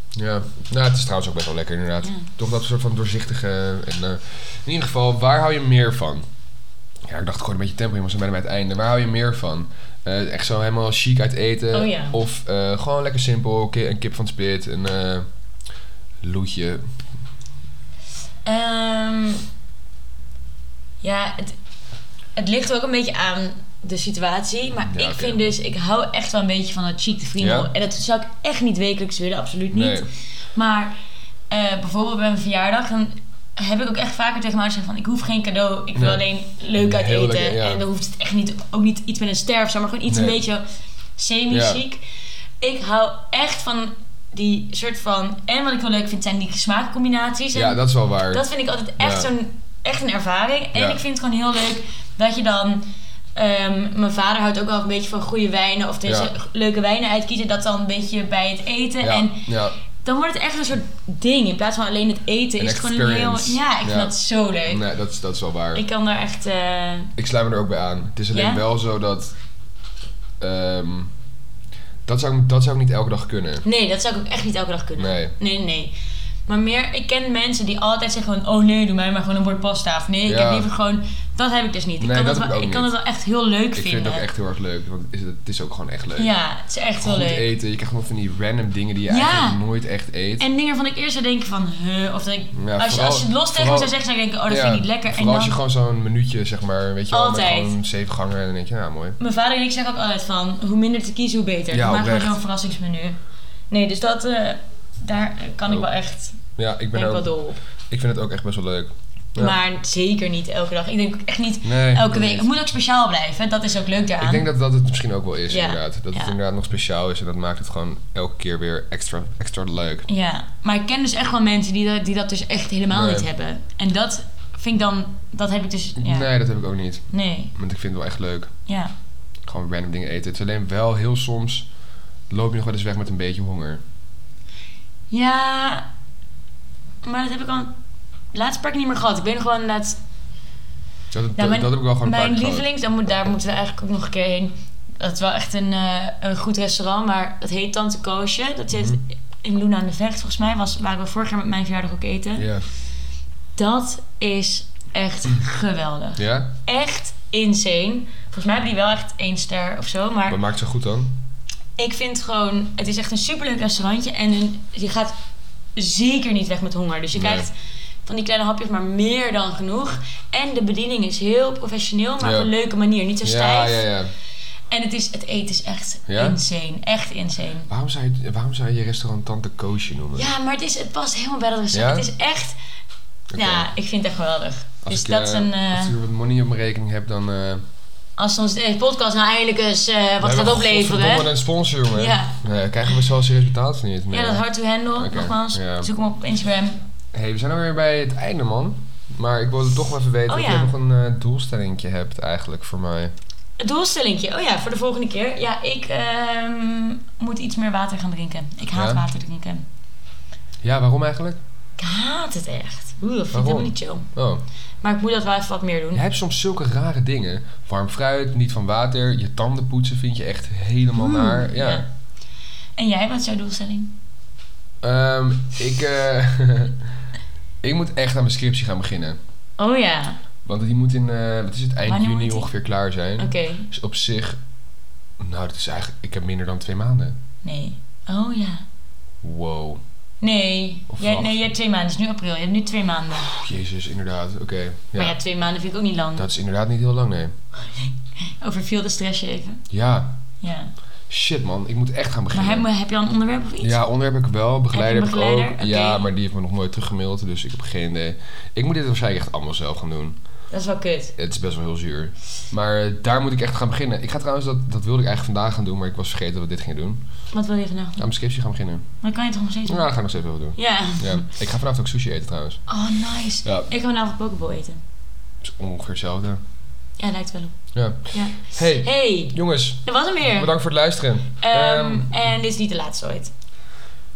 S1: Ja, nou, het is trouwens ook best wel lekker inderdaad.
S2: Ja.
S1: Toch dat soort van doorzichtige... En, eh, in ieder geval, waar hou je meer van? Ja, ik dacht gewoon een beetje tempo in, maar zo bijna bij het einde. Waar hou je meer van? Eh, echt zo helemaal chic uit eten?
S2: Oh ja.
S1: Of eh, gewoon lekker simpel, ki- een kip van het spit, een eh, loetje.
S2: Ehm, ja, het, het ligt ook een beetje aan de situatie. Maar
S1: Ja,
S2: ik
S1: oké.
S2: vind dus... Ik hou echt wel een beetje van dat chic te vrienden.
S1: Ja?
S2: En dat zou ik echt niet wekelijks willen. Absoluut niet.
S1: Nee.
S2: Maar eh, bijvoorbeeld bij mijn verjaardag... Dan heb ik ook echt vaker tegen mensen gezegd van... Ik hoef geen cadeau. Ik wil
S1: Nee.
S2: alleen leuk uit
S1: Heel
S2: eten.
S1: lekker, ja.
S2: En dan hoeft het echt niet... Ook niet iets met een ster of zo. Maar gewoon iets
S1: Nee.
S2: een beetje semi-chic. Ik hou echt van... Die soort van... En wat ik wel leuk vind zijn die smaakcombinaties. En
S1: Ja, dat is wel waar.
S2: dat vind ik altijd echt,
S1: Ja.
S2: zo'n, echt een ervaring. En
S1: Ja.
S2: ik vind het gewoon heel leuk dat je dan... ehm, mijn vader houdt ook wel een beetje van goede wijnen. Of deze
S1: Ja.
S2: leuke wijnen uitkiezen. Dat dan een beetje bij het eten.
S1: ja,
S2: En
S1: ja.
S2: dan wordt het echt een soort ding. In plaats van alleen het eten.
S1: Een
S2: is het gewoon een heel...
S1: experience.
S2: Ja, ik
S1: Ja.
S2: vind dat zo leuk.
S1: Nee, dat, is- dat is wel waar.
S2: Ik kan daar echt... eh,
S1: Ik sluit me er ook bij aan. Het is alleen
S2: Ja?
S1: wel zo dat... ehm, dat, zou, ik- dat zou ik niet elke dag kunnen.
S2: Nee, dat zou ik ook echt niet elke dag kunnen.
S1: Nee.
S2: Nee, nee, nee. Maar meer, ik ken mensen die altijd zeggen van... Oh nee, doe mij maar gewoon een bord pasta. Of nee, ik
S1: Ja.
S2: heb liever gewoon... Dat heb ik dus niet. Ik
S1: Nee,
S2: kan,
S1: dat
S2: het
S1: heb
S2: wel,
S1: ik ook
S2: kan
S1: niet.
S2: het wel echt heel leuk
S1: Ik vind
S2: vinden.
S1: het ook echt heel erg leuk. Want het is, het is ook gewoon echt leuk.
S2: Ja, het is echt
S1: Goed
S2: wel leuk.
S1: eten. Je krijgt nog van die random dingen die je
S2: Ja.
S1: eigenlijk nooit echt eet.
S2: En oh, dingen waarvan ik eerst zou denken van... huh, of dat ik,
S1: Ja,
S2: als, je,
S1: vooral-
S2: als je het los tegen me
S1: vooral-
S2: zou zeggen, zou ik denken... Oh, dat
S1: Ja,
S2: vind ik niet lekker. En
S1: Vooral
S2: dan,
S1: als je gewoon zo'n minuutje, zeg maar, weet je wel, met
S2: Altijd.
S1: gewoon zeven gangen. En dan denk je, nou mooi.
S2: Mijn vader en ik zeggen ook altijd van... Hoe minder te kiezen, hoe beter.
S1: Ja,
S2: Ja, Maak gewoon
S1: oprecht.
S2: zo'n verrassingsmenu. Nee, dus dat... eh, daar kan ik
S1: Oh.
S2: wel echt...
S1: Ja, ik ben
S2: Ben ik
S1: er
S2: wel
S1: ook,
S2: dol op.
S1: ik vind het ook echt best wel leuk. Ja.
S2: Maar zeker niet elke dag. Ik denk ook echt niet...
S1: Nee,
S2: Elke
S1: nee.
S2: week. Het moet ook speciaal blijven. Dat is ook leuk daaraan.
S1: Ik denk dat dat het misschien ook wel is,
S2: Ja,
S1: inderdaad. Dat het
S2: ja.
S1: inderdaad nog speciaal is en dat maakt het gewoon elke keer weer extra, extra leuk.
S2: Ja. Maar ik ken dus echt wel mensen die dat, die dat dus echt helemaal
S1: Nee.
S2: niet hebben. En dat vind ik dan... Dat heb ik dus... Ja. Nee.
S1: Nee, dat heb ik ook niet. Want ik vind het wel echt leuk.
S2: Ja.
S1: Gewoon random dingen eten. Het is alleen wel heel soms loop je nog wel eens weg met een beetje honger.
S2: Ja... Maar dat heb ik al... Laatst paar keer niet meer gehad. Ik ben gewoon laatst...
S1: Dat, dat,
S2: Ja, mijn-
S1: dat heb ik wel gewoon een paar
S2: Mijn
S1: keer gehad.
S2: lievelings... Dan moet, daar moeten we eigenlijk ook nog een keer heen. Dat is wel echt een, eh, een goed restaurant. Maar dat heet Tante Koosje. Dat zit
S1: Mhm.
S2: in Luna aan de Vecht. Volgens mij was, waren we vorig jaar met mijn verjaardag ook eten.
S1: Ja.
S2: Dat is echt geweldig.
S1: Ja?
S2: Echt insane. Volgens mij hebben die wel echt één ster of zo. Maar
S1: Wat maakt het zo goed dan?
S2: ik vind gewoon... Het is echt een superleuk restaurantje. En een- je gaat zeker niet weg met honger. Dus je
S1: Nee.
S2: krijgt van die kleine hapjes maar meer dan genoeg. En de bediening is heel professioneel. Maar
S1: Ja.
S2: op een leuke manier. Niet zo
S1: Ja,
S2: stijf.
S1: ja, ja.
S2: En het, is, het eten is echt
S1: Ja?
S2: insane. Echt insane.
S1: Waarom zou, je, waarom zou je je restaurant Tante Koosje noemen?
S2: Ja, maar het, is, het past helemaal bij dat restaurant.
S1: Ja?
S2: Het is echt...
S1: Oké.
S2: Ja, ik vind het echt geweldig.
S1: Als
S2: dus
S1: ik,
S2: dat is
S1: eh,
S2: een... eh,
S1: Als ik er wat money op mijn rekening heb, dan... eh
S2: Als onze podcast nou eindelijk eens eh, wat gaat opleveren.
S1: We
S2: hè?
S1: een sponsor, jongen.
S2: Ja.
S1: Nee, krijgen we zo serieus betaald of niet?
S2: Ja,
S1: Nee.
S2: dat hard to handle,
S1: Oké,
S2: nogmaals.
S1: ja.
S2: Zoek hem op Instagram.
S1: hey, we zijn alweer bij het einde, man. Maar ik wilde toch wel even weten
S2: Oh,
S1: of
S2: ja.
S1: je nog een eh, doelstellingje hebt eigenlijk voor mij.
S2: Het doelstellingje, oh ja, voor de volgende keer. Ja, ik ehm, moet iets meer water gaan drinken. Ik haat
S1: Ja?
S2: water drinken.
S1: Ja, waarom eigenlijk?
S2: Ik Ik haat het echt. Oeh, dat vind ik
S1: Waarom?
S2: helemaal niet chill.
S1: Oh.
S2: Maar ik moet dat wel even wat meer doen.
S1: Je hebt soms zulke rare dingen. Warm fruit, niet van water. Je tanden poetsen vind je echt helemaal
S2: Oeh,
S1: naar. Ja.
S2: ja. En jij, wat is jouw doelstelling?
S1: Ehm, ik, eh, ik moet echt aan mijn scriptie gaan beginnen.
S2: Oh ja,
S1: Want die moet in, eh, wat is het, eind
S2: Wanneer moet
S1: juni
S2: die?
S1: ongeveer klaar zijn.
S2: oké.
S1: Dus op zich, nou dat is eigenlijk, ik heb minder dan twee maanden.
S2: Nee. Oh ja.
S1: Wow.
S2: Nee.
S1: Of
S2: Jij,
S1: vanaf-
S2: nee, jij hebt twee maanden. Het is nu april. Je hebt nu twee maanden.
S1: Pff, Jezus, inderdaad. Oké.
S2: Maar
S1: Ja.
S2: ja, twee maanden vind ik ook niet lang.
S1: Dat is inderdaad niet heel lang, nee.
S2: Overviel de stress je even.
S1: Ja.
S2: Ja.
S1: Shit man, ik moet echt gaan
S2: Maar
S1: beginnen.
S2: heb, heb je al een onderwerp of iets?
S1: Ja, onderwerp heb ik wel, begeleider
S2: Heb
S1: heb,
S2: je een
S1: ik ook.
S2: begeleider?
S1: Ja,
S2: Oké.
S1: maar die heeft me nog nooit teruggemaild, dus ik heb geen idee. Ik moet dit waarschijnlijk echt allemaal zelf gaan doen.
S2: Dat is wel kut.
S1: Het is best wel heel zuur. Maar eh, daar moet ik echt gaan beginnen. Ik ga trouwens, dat, dat wilde ik eigenlijk vandaag gaan doen, maar ik was vergeten dat we dit gingen doen. Aan
S2: Wat wil je vanavond? doen?
S1: mijn scriptie gaan beginnen.
S2: Dan kan je toch nog steeds
S1: Nou,
S2: doen?
S1: dat ga ik nog steeds wel doen.
S2: Ja.
S1: Ja. Ik ga vanavond ook sushi eten trouwens.
S2: Oh, nice.
S1: Ja.
S2: Ik ga vanavond pokeball eten.
S1: Het is ongeveer hetzelfde.
S2: Ja, lijkt wel op.
S1: Ja.
S2: Ja.
S1: Hey,
S2: Hey,
S1: jongens.
S2: dat was hem weer.
S1: Bedankt voor het luisteren.
S2: Ehm,
S1: Ehm,
S2: en dit is niet de laatste ooit.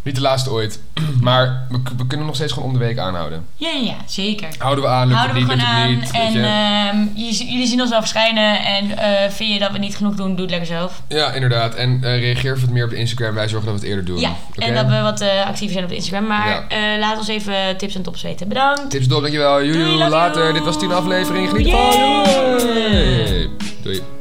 S1: niet de laatste ooit. Maar we, we kunnen nog steeds gewoon om de week aanhouden.
S2: Ja, ja, ja, zeker.
S1: Houden we aan, lukt
S2: Houden we
S1: het niet,
S2: gewoon
S1: lukt
S2: aan.
S1: het niet. weet
S2: en
S1: je.
S2: ehm, je z- jullie zien ons wel verschijnen. En eh, vind je dat we niet genoeg doen, doe het lekker zelf.
S1: Ja, inderdaad. En eh, reageer wat meer op de Instagram. Wij zorgen dat we het eerder doen.
S2: Ja,
S1: Oké?
S2: en dat we wat eh, actiever zijn op Instagram. Maar
S1: Ja.
S2: eh, laat ons even tips en tops weten. Bedankt.
S1: Tips dop, dankjewel. Joejoe,
S2: Doei, love
S1: later.
S2: you.
S1: Dit was 10 aflevering. Geniet van.
S2: Yay.
S1: Doei.